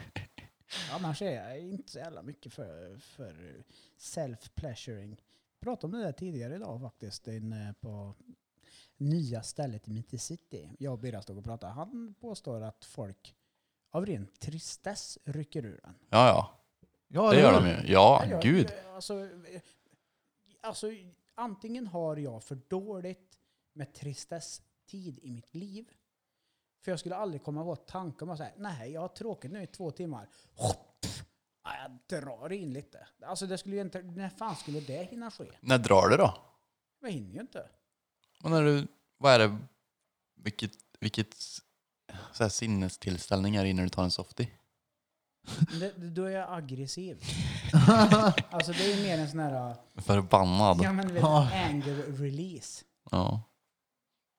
Annars är jag inte så jävla mycket för, för self-pleasuring. Jag pratade om det där tidigare idag faktiskt inne på nya stället i Mitt i City. Jag och Birra stod och pratade. Han påstår att folk av ren tristess rycker ur den. Ja, ja. Ja, Det eller gör de hur? ju. Ja, Ja, gud. eh, Alltså, eh, alltså, antingen har jag för dåligt med tristesstid i mitt liv. För jag skulle aldrig komma på tanken om att säga, nej jag har tråkigt nu i två timmar. Hopp! Ja, drar in lite. Alltså det skulle ju inte, när fan skulle det hinna ske? När drar det då? Jag hinner ju inte. Och när du, vad är det, vilket, vilket så här sinnestillställning är det i när du tar en softie? Det, det- då är jag aggressiv. *laughs* alltså det är ju mer en sån här, Förbannad. ja men du vet, anger release. Ja.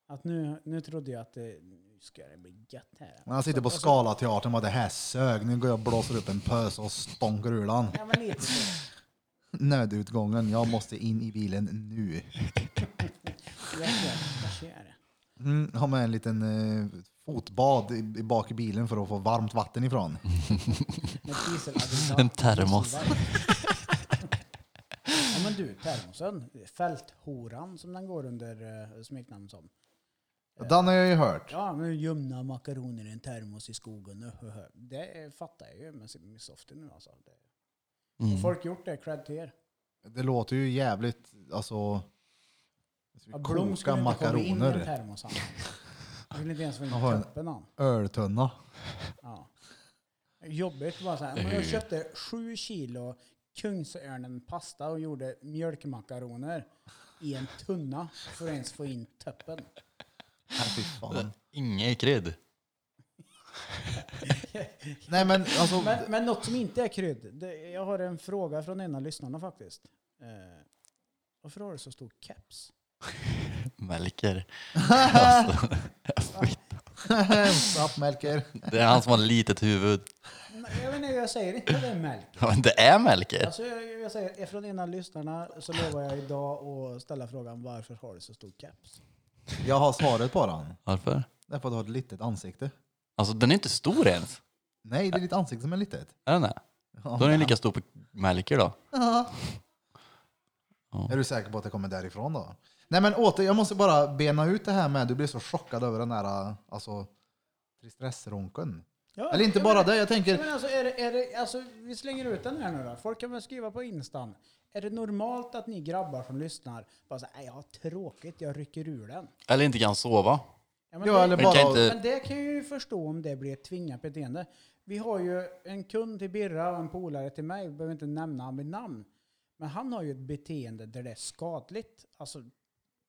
Att nu, nu trodde jag att det, nu ska det bli gött här. När han sitter på Scalateatern och bara det här sög, nu går jag och blåser upp en pös och stånkar ur den. Ja men lite så. Nödutgången, jag måste in i bilen nu. Jag kör, jag kör det. Mm, har med en liten eh, fotbad i, i bak i bilen för att få varmt vatten ifrån. Mm. Med *laughs* dieselaggregat. En termos. ja men du, termosen. Fälthoran som den går under eh, smeknamn som. Den har jag ju hört. Ja, men gömna makaroner i en termos i skogen. öhöhö. Det eh, fattar jag ju med sin- med soften nu alltså. Det, Mm. Har Folk gjort det, cred till er. Det låter ju jävligt, alltså... Ja, Blom Koka skulle inte komma in i en makaroner. termos han. Han skulle inte ens få in Jaha. tuppen han. Öltunna. Ja. Jobbigt bara så här. Mm. Men jag köpte sju kilo Kungsörnen-pasta och gjorde mjölkmakaroner i en tunna för att ens få in tuppen. Nej, fy fan. Inget krydd. Nej men alltså... Men, men något som inte är krydd. Det, jag har en fråga från en av lyssnarna faktiskt. Eh, varför har du så stor keps? Melker. Alltså, Upp, Melker. det är han som har litet huvud. *laughs* Nej, Jag vet inte, jag säger inte det Melk. Ja, men det är Melker. Alltså, jag, jag säger, från en av lyssnarna så lovar jag idag att ställa frågan varför har du så stor keps? Jag har svaret på den. Varför? Därför att du har ett litet ansikte. Alltså den är inte stor ens. Nej, det är ditt ansikte som är litet. Är den det? Då är den lika stor på Melker då. Är du säker på att det kommer därifrån då? Nej men åter, jag måste bara bena ut det här med, du blir så chockad över den där alltså, tristessronken. Ja, Eller inte jag bara menar- det, jag Ja, tänker, Men alltså, är det, är det, alltså, vi slänger ut den här nu då. Folk kan väl skriva på instan. Är det normalt att ni grabbar som lyssnar bara så här, "Nej, jag har tråkigt, jag rycker ur den. Eller inte kan sova. Ja, men, Ja, det, eller Men kan bara- inte... men det kan jag ju förstå om det blir ett tvingat beteende. Vi har ju en kund till Birra och en polare till mig, vi behöver inte nämna honom vid namn. Men han har ju ett beteende där det är skadligt. Alltså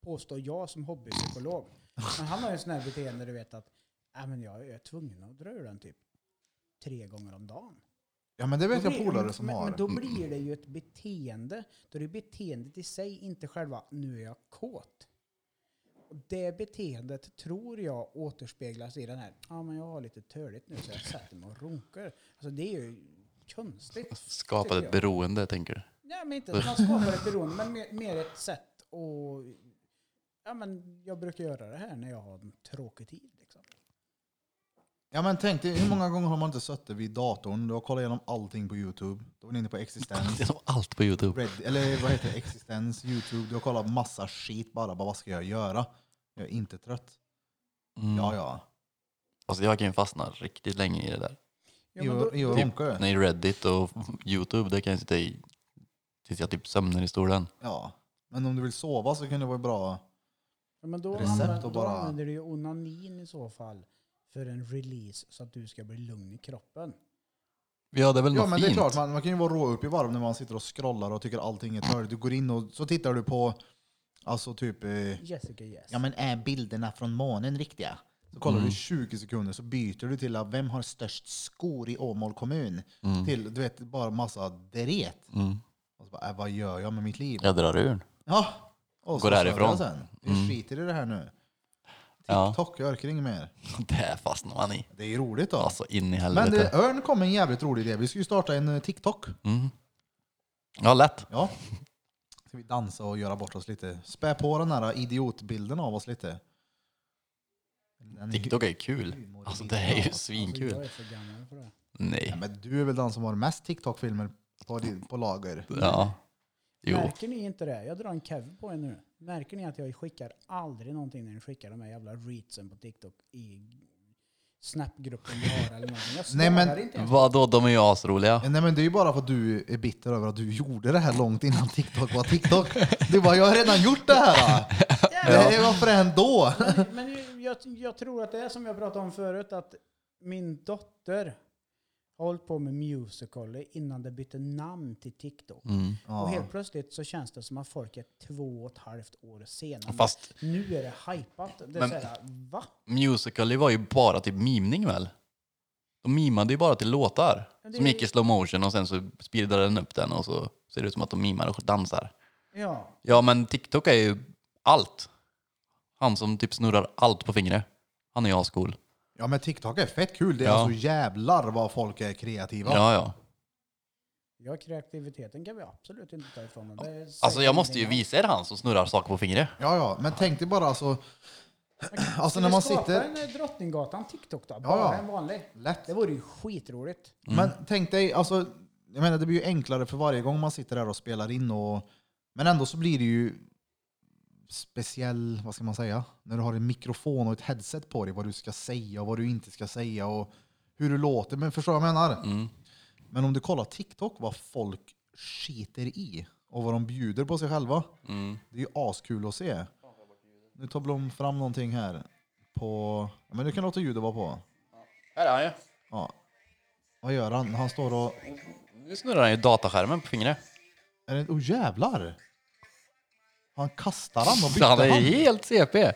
påstår jag som hobbypsykolog. Men han har ju en sån här beteende du vet att "Nej, men jag är tvungen att dra ur den typ tre gånger om dagen. ja men det vet Då jag blir- polare men- som men, har. Men då blir det ju ett beteende. Då är det beteendet i sig, inte själva nu är jag kåt. Och Det beteendet tror jag återspeglas i den här, ja ah, men jag har lite törligt nu så jag sätter mig och runkar. Alltså det är ju konstigt. Skapar tycker ett jag. beroende, tänker du? Nej men inte att man skapar ett beroende, men mer, mer ett sätt och ja men jag brukar göra det här när jag har en tråkig tid. Liksom. Ja men tänk dig, hur många gånger har man inte suttit vid datorn, du har kollat igenom allting på Youtube, då var ni inne på existens, *laughs* Det är som allt på Youtube. Red, eller vad heter det, existens, Youtube, du har kollat massa skit bara, bara vad ska jag göra? Jag är inte trött. Mm. Ja ja, Alltså jag kan ju fastna riktigt länge i det där. Ja, i men då, och- i och Typ, ronka. nej, Reddit och Youtube, det kan jag sitta i tills jag typ sömnar i stolen. Ja. Men om du vill sova så kan det vara bra Ja, men då, Recept använder, och då bara- använder du ju onanin i så fall för en release så att du ska bli lugn i kroppen. Ja, det är väl Ja något men fint. det är klart, man, man kan ju vara rå upp i varv när man sitter och scrollar och tycker allting är *clears throat* törligt. Du går in och så tittar du på, alltså typ, eh, Jessica yes. ja men är bilderna från månen riktiga? Så kollar Mm. du i 20 sekunder så byter du till att vem har störst skor i Åmål kommun? Till, du vet, bara massa deret. Mm. Och så bara, äh, vad gör jag med mitt liv? Ja. Jag drar ur *laughs* den. Och Går så kör härifrån. Mm. jag Sen. Jag skiter i det här nu. Ja, TikTok, jag orkar inget mer. det här fastnar man i. Det är ju roligt då. Alltså in i men helvete. det, Örn kom med en jävligt rolig idé. Vi ska ju starta en eh, TikTok. Mm. Ja, lätt. Ja. Ska vi dansa och göra bort oss lite? Spä på den här idiotbilden av oss lite. Den är- TikTok är ju kul. Alltså det är ju Alltså, jag svinkul. är för gammal för det. Ja, Nej. men du är väl den som har mest TikTok-filmer på, din- på lager? Ja. Jo. Märker ni inte det? Jag drar en kev på er nu. Märker ni att jag skickar aldrig någonting när ni skickar de här jävla reetsen på TikTok i snapgruppen vi har eller någonting. Jag *laughs* Nej, Nej, men- men, inte ens. Vadå, de är ju asroliga. Ja, Nej men det är ju bara för att du är bitter över att du gjorde det här långt innan TikTok var TikTok. Du bara, jag har redan gjort det här! Då. Det här var fränt då! Men ju- jag, jag tror att det är som jag pratade om förut, att min dotter har hållit på med Musical.ly innan det bytte namn till TikTok. Mm. Och helt plötsligt så känns det som att folk är två och ett halvt år senare. Fast- nu är det hypat. Det är Men- så här, va? Musical.ly var ju bara till mimning väl? De mimade ju bara till låtar som gick i slow motion och sen så speedade den upp den och så ser det ut som att de mimar och dansar. Ja. Ja men TikTok är ju allt. Han som typ snurrar allt på fingret. Han är ascool. Ja men TikTok är fett kul. Det är Ja. alltså jävlar vad folk är kreativa. Ja ja. Ja, kreativiteten kan vi absolut inte ta ifrån honom. Det säger Alltså jag måste ju ingenting visa er han som snurrar saker på fingret. ja, ja. men tänk dig bara alltså. Alltså om. när man Ska vi skapa sitter. en eh, Drottninggatan TikTok då? Bara ja. en vanlig. Lätt. Det vore ju skitroligt. Men tänk dig, alltså, jag menar, det blir ju enklare för varje gång man sitter där och spelar in. Och, men ändå så blir det ju speciell, vad ska man säga, när du har en mikrofon och ett headset på dig, vad du ska säga och vad du inte ska säga och hur du låter. Men förstår du vad jag menar? Men om du kollar TikTok, vad folk skiter i och vad de bjuder på sig själva. Det är ju askul att se. Nu tar Blom fram någonting här. På, ja, men du kan låta ljudet vara på. Här är han ju. Ja. Vad gör han? Han står och Nu snurrar han ju dataskärmen på fingret. Är det, oh jävlar! Han kastar han och bytte Han han. är helt CP.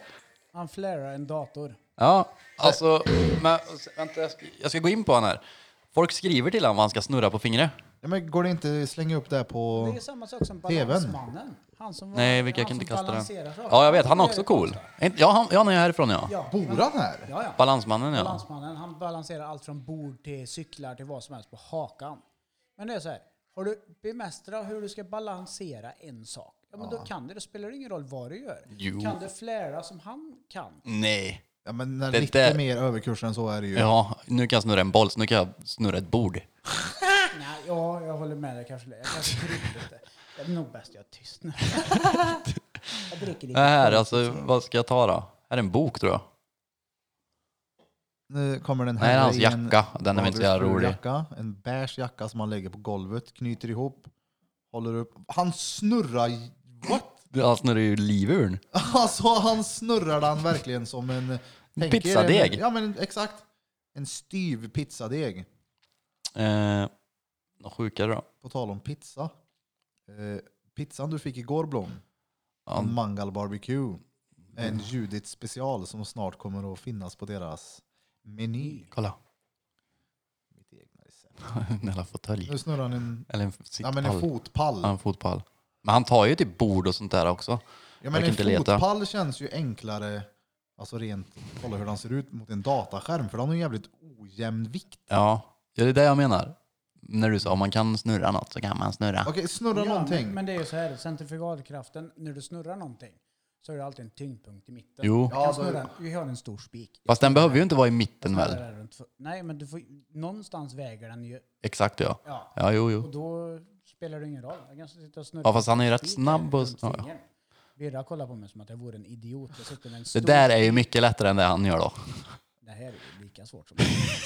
Han flärar en dator. Ja, alltså, men, vänta, jag ska, jag ska gå in på han här. Folk skriver till honom vad han ska snurra på fingret. Ja, men går det inte att slänga upp det här Det är på... ju samma sak som TV:n. Balansmannen. Han som var, Nej, vilka han jag kan som inte kasta den. balanserar saker. Ja, jag vet, han är gör också ju cool. konst där. Är inte- Ja, han, ja, han är härifrån ja. Ja, Bor han här? ja, ja. Balansmannen ja. Balansmannen, han balanserar allt från bord till cyklar till vad som helst på hakan. Men det är så här, har du bemästrat hur du ska balansera en sak, ja men då kan du, det spelar ingen roll vad du gör. Jo. Kan du flära som han kan, Nej. Ja, men när Det lite där- mer överkurs än så är det ju. Ja, nu kan jag snurra en boll, så nu kan jag snurra ett bord. Nej, ja, jag håller med dig kanske. Jag kanske kryper lite. Det är nog bäst jag är tyst nu. jag dricker Det lite. här, alltså, vad ska jag ta då? Här är en bok tror jag. Nu kommer den här Nej, det är hans i en- jacka. Den är väl inte så jävla rolig. Jacka, en beige jacka som han lägger på golvet, knyter ihop, håller upp. Han snurrar... i- What? *laughs* Han snurrar ju liv ur den. Alltså han snurrar den verkligen som en... tänk er en- Pizzadeg. Ja men exakt. En styv pizzadeg. Eh, något sjukare då? På tal om pizza. Eh, pizzan du fick igår Blom, Ja. Mm. en mangal barbecue. En Judith special som snart kommer att finnas på deras meny. Kolla. *laughs* Mitt egna recept. En jävla fåtölj. Nu snurrar han en, Eller en ja, sittpall. men en fotpall. Ja, en fotpall. Men han tar ju typ bord och sånt där också. Ja, Jag men kan en inte leta. fotpall känns ju enklare, alltså rent, kolla hur den ser ut mot en dataskärm, för den har ju jävligt ojämn vikt. Ja, ja, det är det jag menar. När du sa om man kan snurra något så kan man snurra. Okej, snurra Ja, någonting. men, men det är ju så här, centrifugalkraften, när du snurrar någonting så är det alltid en tyngdpunkt i mitten. Jo. Jag Ja, kan då- snurra, vi har en stor spik. Fast den behöver ju inte vara i mitten väl? Snurrar runt för- Nej, men du får, någonstans väger den ju. Exakt ja. Ja. Ja, jo, Och jo. då spelar det ingen roll. Jag kan sitta och snurra. Ja, fast han är ju på en rätt spik snabb och- runt ja, ja. fingern. Birra kollar på mig som att jag vore en idiot. Jag sitter med en Det stor... där är ju mycket lättare än det han gör då. *laughs* Det här är ju lika svårt som...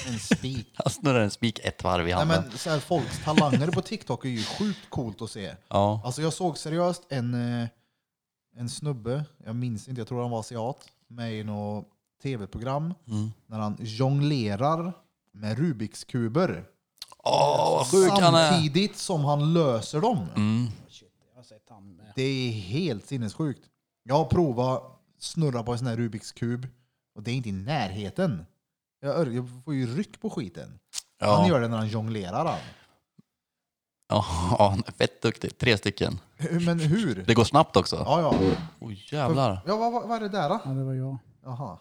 En spik. Han snurrar en spik ett varv i Nej, handen. men, så här, folks talanger på TikTok är ju sjukt coolt att se. Ja. Alltså jag såg seriöst en, eh, en snubbe, jag minns inte, jag tror han var asiat, med i något tv-program Mm. när han jonglerar med Rubiks kuber Åh, vad sjuk han Mm. är! samtidigt som han löser dem. Shit, jag har sett han med... Det är helt sinnessjukt. Jag har provat snurra på en sån här Rubiks kub och det är inte i närheten. Jag, ör- jag får ju ryck på skiten. Han Ja. gör det när han jonglerar han. Ja, *laughs* han är fett duktig. Tre stycken. Men hur? Det går snabbt också. Ja, ja. Oj jävlar. ja vad, vad, vad är det där då? Ja, det var jag. Jaha.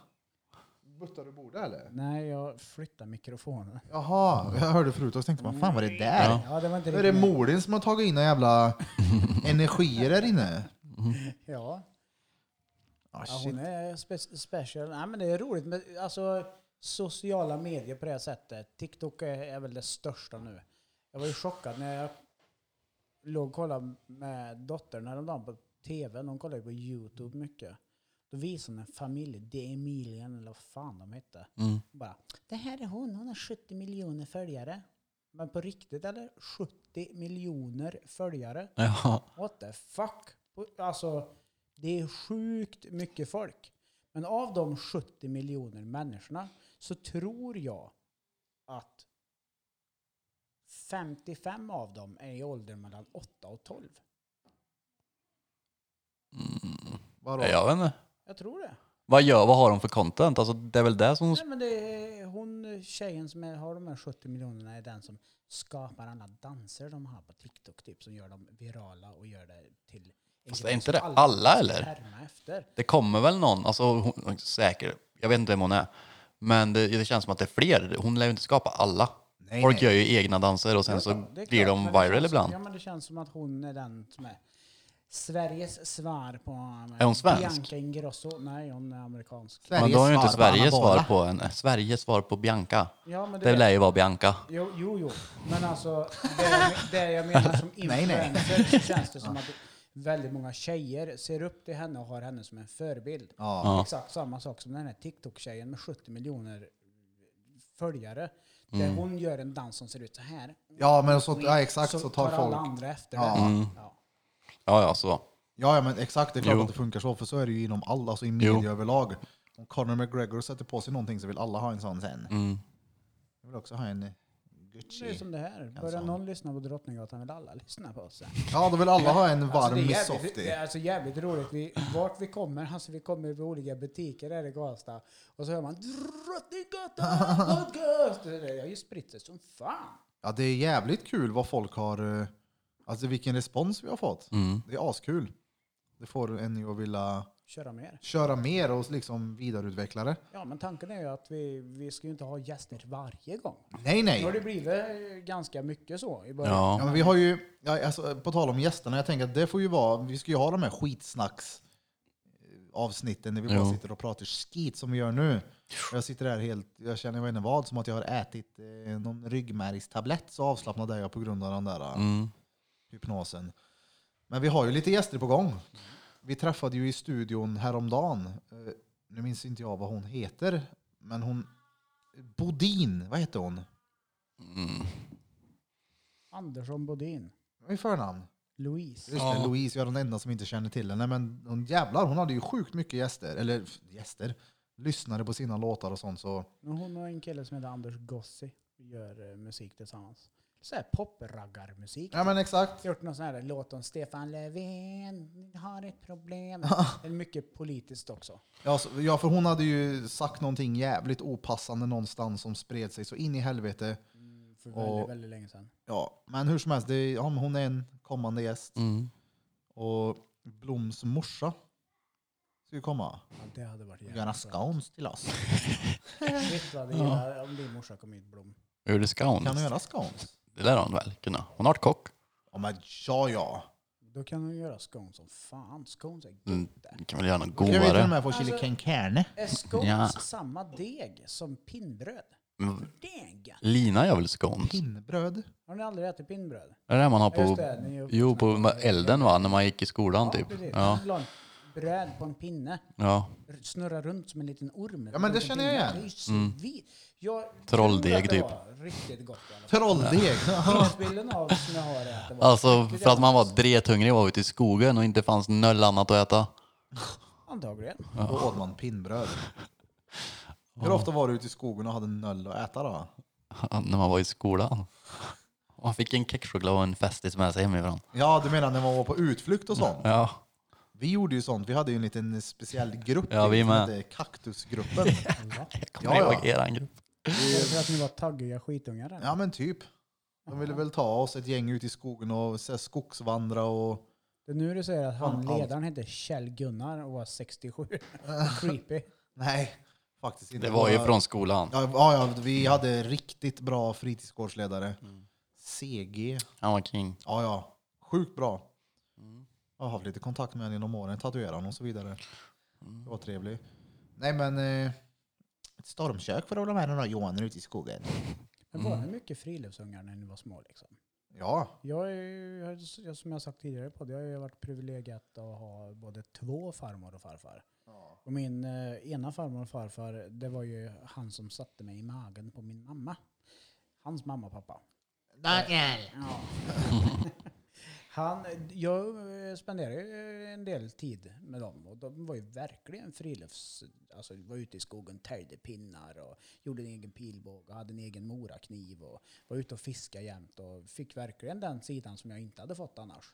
Buttar du bordet eller? Nej, jag flyttar mikrofonen. Jaha, jag hörde förut och så tänkte man fan vad är det där? Ja. Ja, det var inte Är det riktigt- Molin som har tagit in några jävla energier där inne? Ja, Ah, ja shit. hon är spe special. Nej, men det är roligt med alltså, sociala medier på det här sättet. TikTok är, är väl det största nu. Jag var ju chockad när jag låg och kollade med dottern häromdagen på tv. De kollade ju på YouTube mycket. Då visade hon en familj, De Emilien eller vad fan de hette. Mm. Bara, det här är hon, hon har 70 miljoner följare. Men på riktigt eller? 70 miljoner följare. Ja. What the fuck? Alltså, det är sjukt mycket folk. Men av de 70 miljoner människorna så tror jag att 55 av dem är i åldern mellan 8 och 12. Vadå? Jag vet inte. Jag tror det. Vad gör, vad har de för content? Alltså det är väl det som... Nej, men det är hon tjejen som är, har de här 70 miljonerna är den som skapar alla danser de har på TikTok typ, som gör dem virala och gör det till... Fast är inte det alla, eller? Härma efter. Det kommer väl någon, alltså hon, säker, jag vet inte vem hon är. Men det, det känns som att det är fler. Hon lär ju inte skapa alla. Nej, Folk nej. gör ju egna danser och sen så Ja, det är blir klart, men de det viral känns- ibland. Ja, men det känns som att hon är den som är Sveriges svar på... Är hon svensk? Bianca Ingrosso. Nej, hon är amerikansk. Men då har ju inte svar på Anna Sveriges svar Bola. på henne. Sveriges svar på Bianca. Ja, men det Det vet lär ju vara Bianca. Jo, jo, jo. Men alltså, det jag, det jag menar som Nej, nej. influencer så känns det som att väldigt många tjejer ser upp till henne och har henne som en förebild. Ja. Ja. Exakt samma sak som den här TikTok-tjejen med 70 miljoner följare. Där hon gör en dans som ser ut så här. Ja, men så, ja, exakt så, tar alla folk... andra efter Ja. det. Mm. Ja. Ja, ja, så. Ja, ja, men exakt. Det är klart Jo. att det funkar så, för så är det ju inom alla, alltså i media Jo. överlag. Om Conor McGregor sätter på sig någonting så vill alla ha en sån sen. Mm. Jag vill också ha en eh, Det är Gucci. som det här. Alltså. Börjar någon lyssna på Drottninggatan vill alla lyssna på oss. sen. Ja, då vill alla ha en Alltså, det är varm jävligt- Det softie. är alltså jävligt roligt. Vi, vart vi kommer, alltså vi kommer vid olika butiker här i Karlstad och så hör man *laughs* Drottninggatan podcast. Det där, Jag har ju spritt det som fan. Ja, det är jävligt kul vad folk har... eh, Alltså vilken respons vi har fått. Det är askul. Det får en ju att vilja Köra mer. köra mer och liksom vidareutveckla det. Ja, men tanken är ju att vi, vi ska ju inte ha gäster varje gång. Nej, nej. Nu har det blivit eh, ganska mycket så i början. Ja, Ja. men vi har ju, ja, alltså, på tal om gästerna, jag tänker att det får ju vara, vi ska ju ha de här skitsnacks eh, avsnitten när vi bara Jo. sitter och pratar skit som vi gör nu. Jag sitter här helt, jag känner jag vet inte vad, som att jag har ätit eh, någon ryggmärgstablett så avslappnad är jag på grund av den där eh, Mm. hypnosen. Men vi har ju lite gäster på gång. Vi träffade ju i studion häromdagen, eh, nu minns inte jag vad hon heter, men hon, Bodin, vad heter hon? Mm. Andersson Bodin. Vad är förnamn? Louise. Just det, Louise, jag är den enda som inte känner till henne. Men hon jävlar, hon hade ju sjukt mycket gäster, eller f- gäster, lyssnare på sina låtar och sånt. Så Men Hon och en kille som heter Anders Gossi gör eh, musik tillsammans. Så här popraggarmusik. ja men exakt. gjort någon sån här låt om Stefan Löfven har ett problem. Det är mycket politiskt också. Ja, så, ja, för hon hade ju sagt någonting jävligt opassande någonstans som spred sig så in i helvete. För Och- väldigt, väldigt länge sedan. Ja, men hur som helst, det, är- ja, men hon är en kommande gäst. Mm. Och Bloms morsa ska ju komma Ja, det hade varit och göra jävligt bra. scones till oss. Shit vad det gillar om din morsa kom hit Blom. Hur det ska hon? Kan hon göra scones? Det lär hon väl kunna. Hon har varit kock. Ja, men ja, ja. Då kan hon göra scones som fan. Scones är Mm. gött det. Vi kan väl göra något Då kan vi till och godare. med få chili Alltså- con carne. Är scones Ja. samma deg som pinnbröd? Mm. Det är gött. Lina gör väl scones? Pinnbröd. Har ni aldrig ätit pinnbröd? Är det det man har Ja, just på, det, ni är uppvuxna jo, på med- elden va? När man gick i skolan typ. precis. Ja, Man la en Bröd på en pinne. ja. r- Snurra runt som en liten orm. Ja, men det Runt en känner jag pinne. igen. Det är ju svin- Jag Mm. Trolldeg, tror att det typ. var Riktigt gott i alla fall. Trolldeg. Prisbilden av som jag har är att det var Alltså riktigt för att man var jävla- drethungrig och var ute i skogen och inte fanns noll annat att äta. *laughs* Antagligen. Då åt man pinnbröd. Hur ofta var du ute i skogen och hade noll att äta då? När man var i skolan. Man fick en kexchoklad och en festis med sig hemifrån. Ja, du menar när man var på utflykt och sånt? Ja, Vi gjorde ju sånt. Vi hade ju en liten speciell grupp Ja, vi som med. hette *laughs* Kaktusgruppen. jag kommer Ja, ja. ihåg eran grupp. Var det För att ni var taggiga skitungar. eller? Ja, men typ. De ville väl ta oss ett gäng ut i skogen och så här, skogsvandra och... Det är nu du säger att han Fan, allt. ledaren hette Kjell-Gunnar och var 67. *laughs* Creepy. Nej, faktiskt inte. Det var ju Ja, från skolan. Ja, ja, vi hade riktigt bra fritidsgårdsledare. Mm. CG. Han var king. Ja, ja. Sjukt bra. Jag har haft lite kontakt med henne genom åren, tatuerar honom och så vidare. Det var trevligt. Nej men, eh, ett stormkök för att hålla med några johaner ute i skogen. Men var det mycket friluftsungar när ni var små? Liksom? Ja, Jag är ju, jag- jag- som jag sagt tidigare på det, jag har ju varit privilegierat att ha både två farmor och farfar. Och min eh, ena farmor och farfar, det var ju han som satte mig i magen på min mamma. Hans mamma och pappa. Daniel! Ja. *laughs* Han, jag eh, spenderade ju en del tid med dem och de var ju verkligen frilufts... Alltså var ute i skogen, töjde pinnar och gjorde en egen pilbåge och hade en egen morakniv och var ute och fiskade jämt och fick verkligen den sidan som jag inte hade fått annars.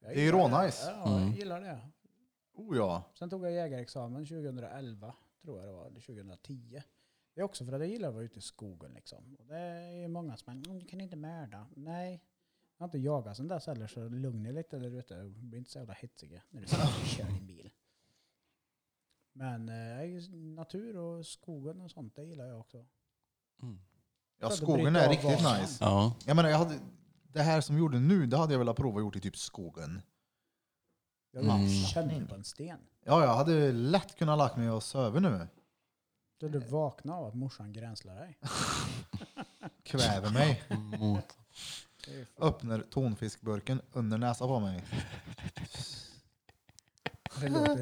Jag Det är ju gillar rånice. Mm. Ja, jag gillar det. Oh ja. Sen tog jag jägarexamen 2011, tror jag det var, eller 2010. Det är också för att jag gillar att vara ute i skogen liksom. Och det är många som är, "Mm, du kan inte mörda. Nej. Jag har inte jagat sen dess heller, så lugna er lite där ute. Bli inte så jävla hetsiga när du sitter och kör din bil. Men eh, natur och skogen och sånt, det gillar jag också. Ja, Så att skogen bryta är av riktigt gasen. nice. Ja. Jag menar, jag hade, det här som vi gjorde nu, det hade jag velat prova att gjort i typ skogen. Jag vill Mm. känna på en sten. Ja, jag hade lätt kunnat lagt mig och sova nu. Då du vaknar av att morsan gränslar dig. Kväver *laughs* mig. Mot. Öppnar tonfiskburken under näsan på mig. Det låter...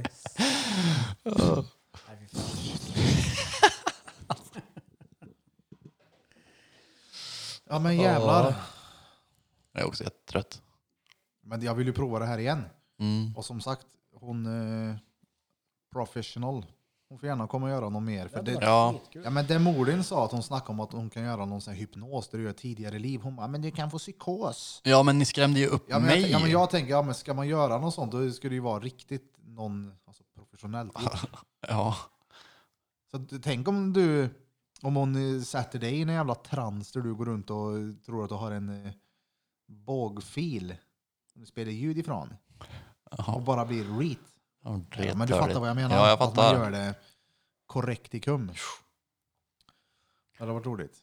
Nej, fy fan. Ja, men jävlar. Ja. Jag är också jättetrött. Men jag vill ju prova det här igen. Mm. Och som sagt, hon eh, professional. Hon får gärna komma och göra något mer. För det, Ja. ja, men det Molin sa att hon snackade om att hon kan göra någon sån här hypnos där du gör tidigare liv. Hon bara, men du kan få psykos. ja, men ni skrämde ju upp Ja, men jag, mig. ja, men jag tänker, ja, men ska man göra något sånt då ska det ju vara riktigt någon alltså, professionellt. *laughs* ja. Så att, tänk om du, om hon eh, sätter dig i en jävla trans där du går runt och eh, tror att du har en eh, bågfil som du spelar ljud ifrån och Ja, bara blir reet. det är men du fattar törligt. vad jag menar? Ja, jag Att man gör fattar. det korrektikum. Det hade varit roligt.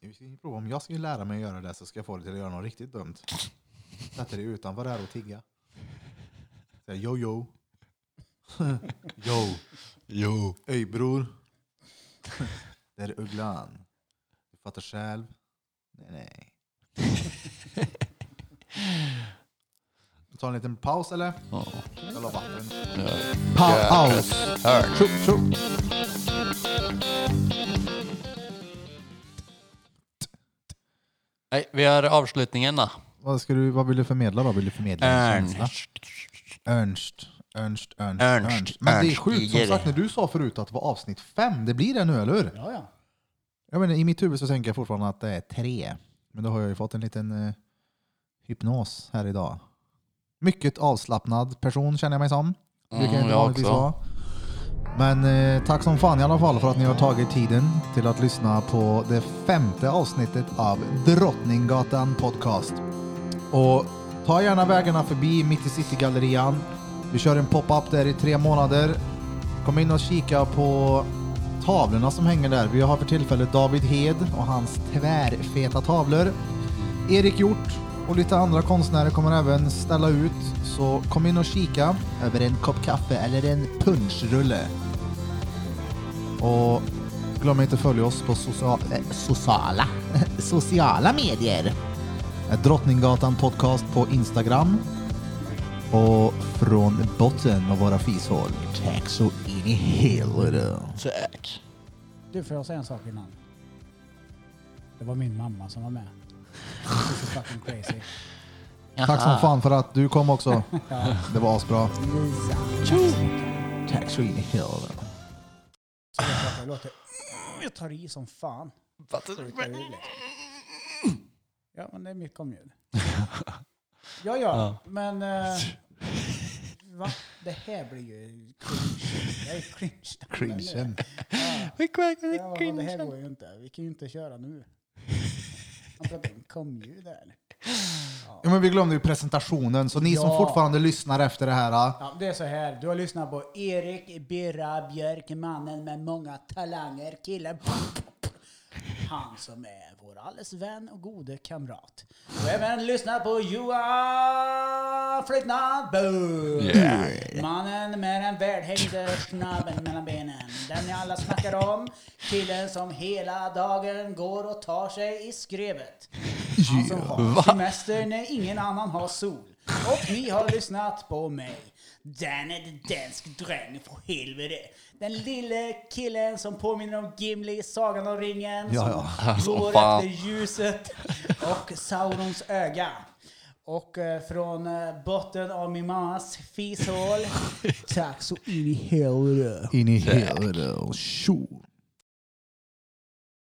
Vi ska ju prova. Om jag skulle lära mig att göra det så ska jag få dig till att göra något riktigt dumt. Sätta dig utanför här och tigga. Säga yo yo. yo. Jo. Öj *laughs* bror. Det är Ugglan. Du fattar själv. Nej, nej. Vi tar en liten paus eller? Ja. Jag la vatten. Ja. Paus! Hör. Tjo, tjo. Nej, vi har avslutningen då. Vad, ska du, vad vill du förmedla då? Vill du förmedla en känsla? Ernst. Ernst. Ernst, Ernst, Ernst, Men det är Ernst sjukt, som Tiger. sagt, när du sa förut att det var avsnitt fem, det blir det nu, eller hur? Ja, ja. Jag menar, I mitt huvud så tänker jag fortfarande att det är tre. Men då har jag ju fått en liten eh, hypnos här idag. Mycket avslappnad person känner jag mig som. Det brukar jag Mm, inte jag vanligtvis också. vara. Men eh, tack som fan i alla fall för att ni har tagit tiden till att lyssna på det femte avsnittet av Drottninggatan Podcast. Och ta gärna vägarna förbi Mitt i City-gallerian. Vi kör en pop-up där i tre månader. Kom in och kika på tavlorna som hänger där. Vi har för tillfället David Hed och hans tvärfeta tavlor. Erik Hjort och lite andra konstnärer kommer även ställa ut. Så kom in och kika över en kopp kaffe eller en punschrulle. Och glöm inte att följa oss på social, eh, sociala, *laughs* sociala medier. Drottninggatan podcast på Instagram. Och från botten av våra fishål. Tack så in i helvete. Tack. Du, får jag säga en sak innan? Det var min mamma som var med. This is fucking crazy. Tack som fan för att du kom *laughs* också. Ja, Det var asbra. Lisa. Tack så mycket. Tack så in i helvete. Så jag pratar, jag låter... Jag tar i som fan. Fattar Så du? det tar i liksom. Ja, men det är mitt komljud. Ja, ja. Men... Eh, va? Det här blir ju cringe. Det är cringe. Cringen. Ja. Vi kvack, vi Ja, men det här cringe. går ju inte. Vi kan ju inte köra nu. Han pratade om komljud där. Ja, men vi glömde ju presentationen, så ni som Ja. fortfarande lyssnar efter det här. ah, Ja, det är så här. Du har lyssnat på Erik Birra Björk, mannen med många talanger, killen. *laughs* Han som är vår alles vän och gode kamrat. Och även lyssna på Johan Flyttnad Yeah. Mannen med den välhängde snabben mellan benen. Den ni alla snackar om. Killen som hela dagen går och tar sig i skrevet. Han Alltså, som har semester när ingen annan har sol. Och ni har lyssnat på mig. Den är det dansk dräng, för helvete. Den lille killen som påminner om Gimli i Sagan om ringen. Ja, som ja. Alltså, går fan. efter ljuset och Saurons öga. Och eh, från eh, botten av min mammas fishål, tack så in i helvete. In i helvete och oh, tjo.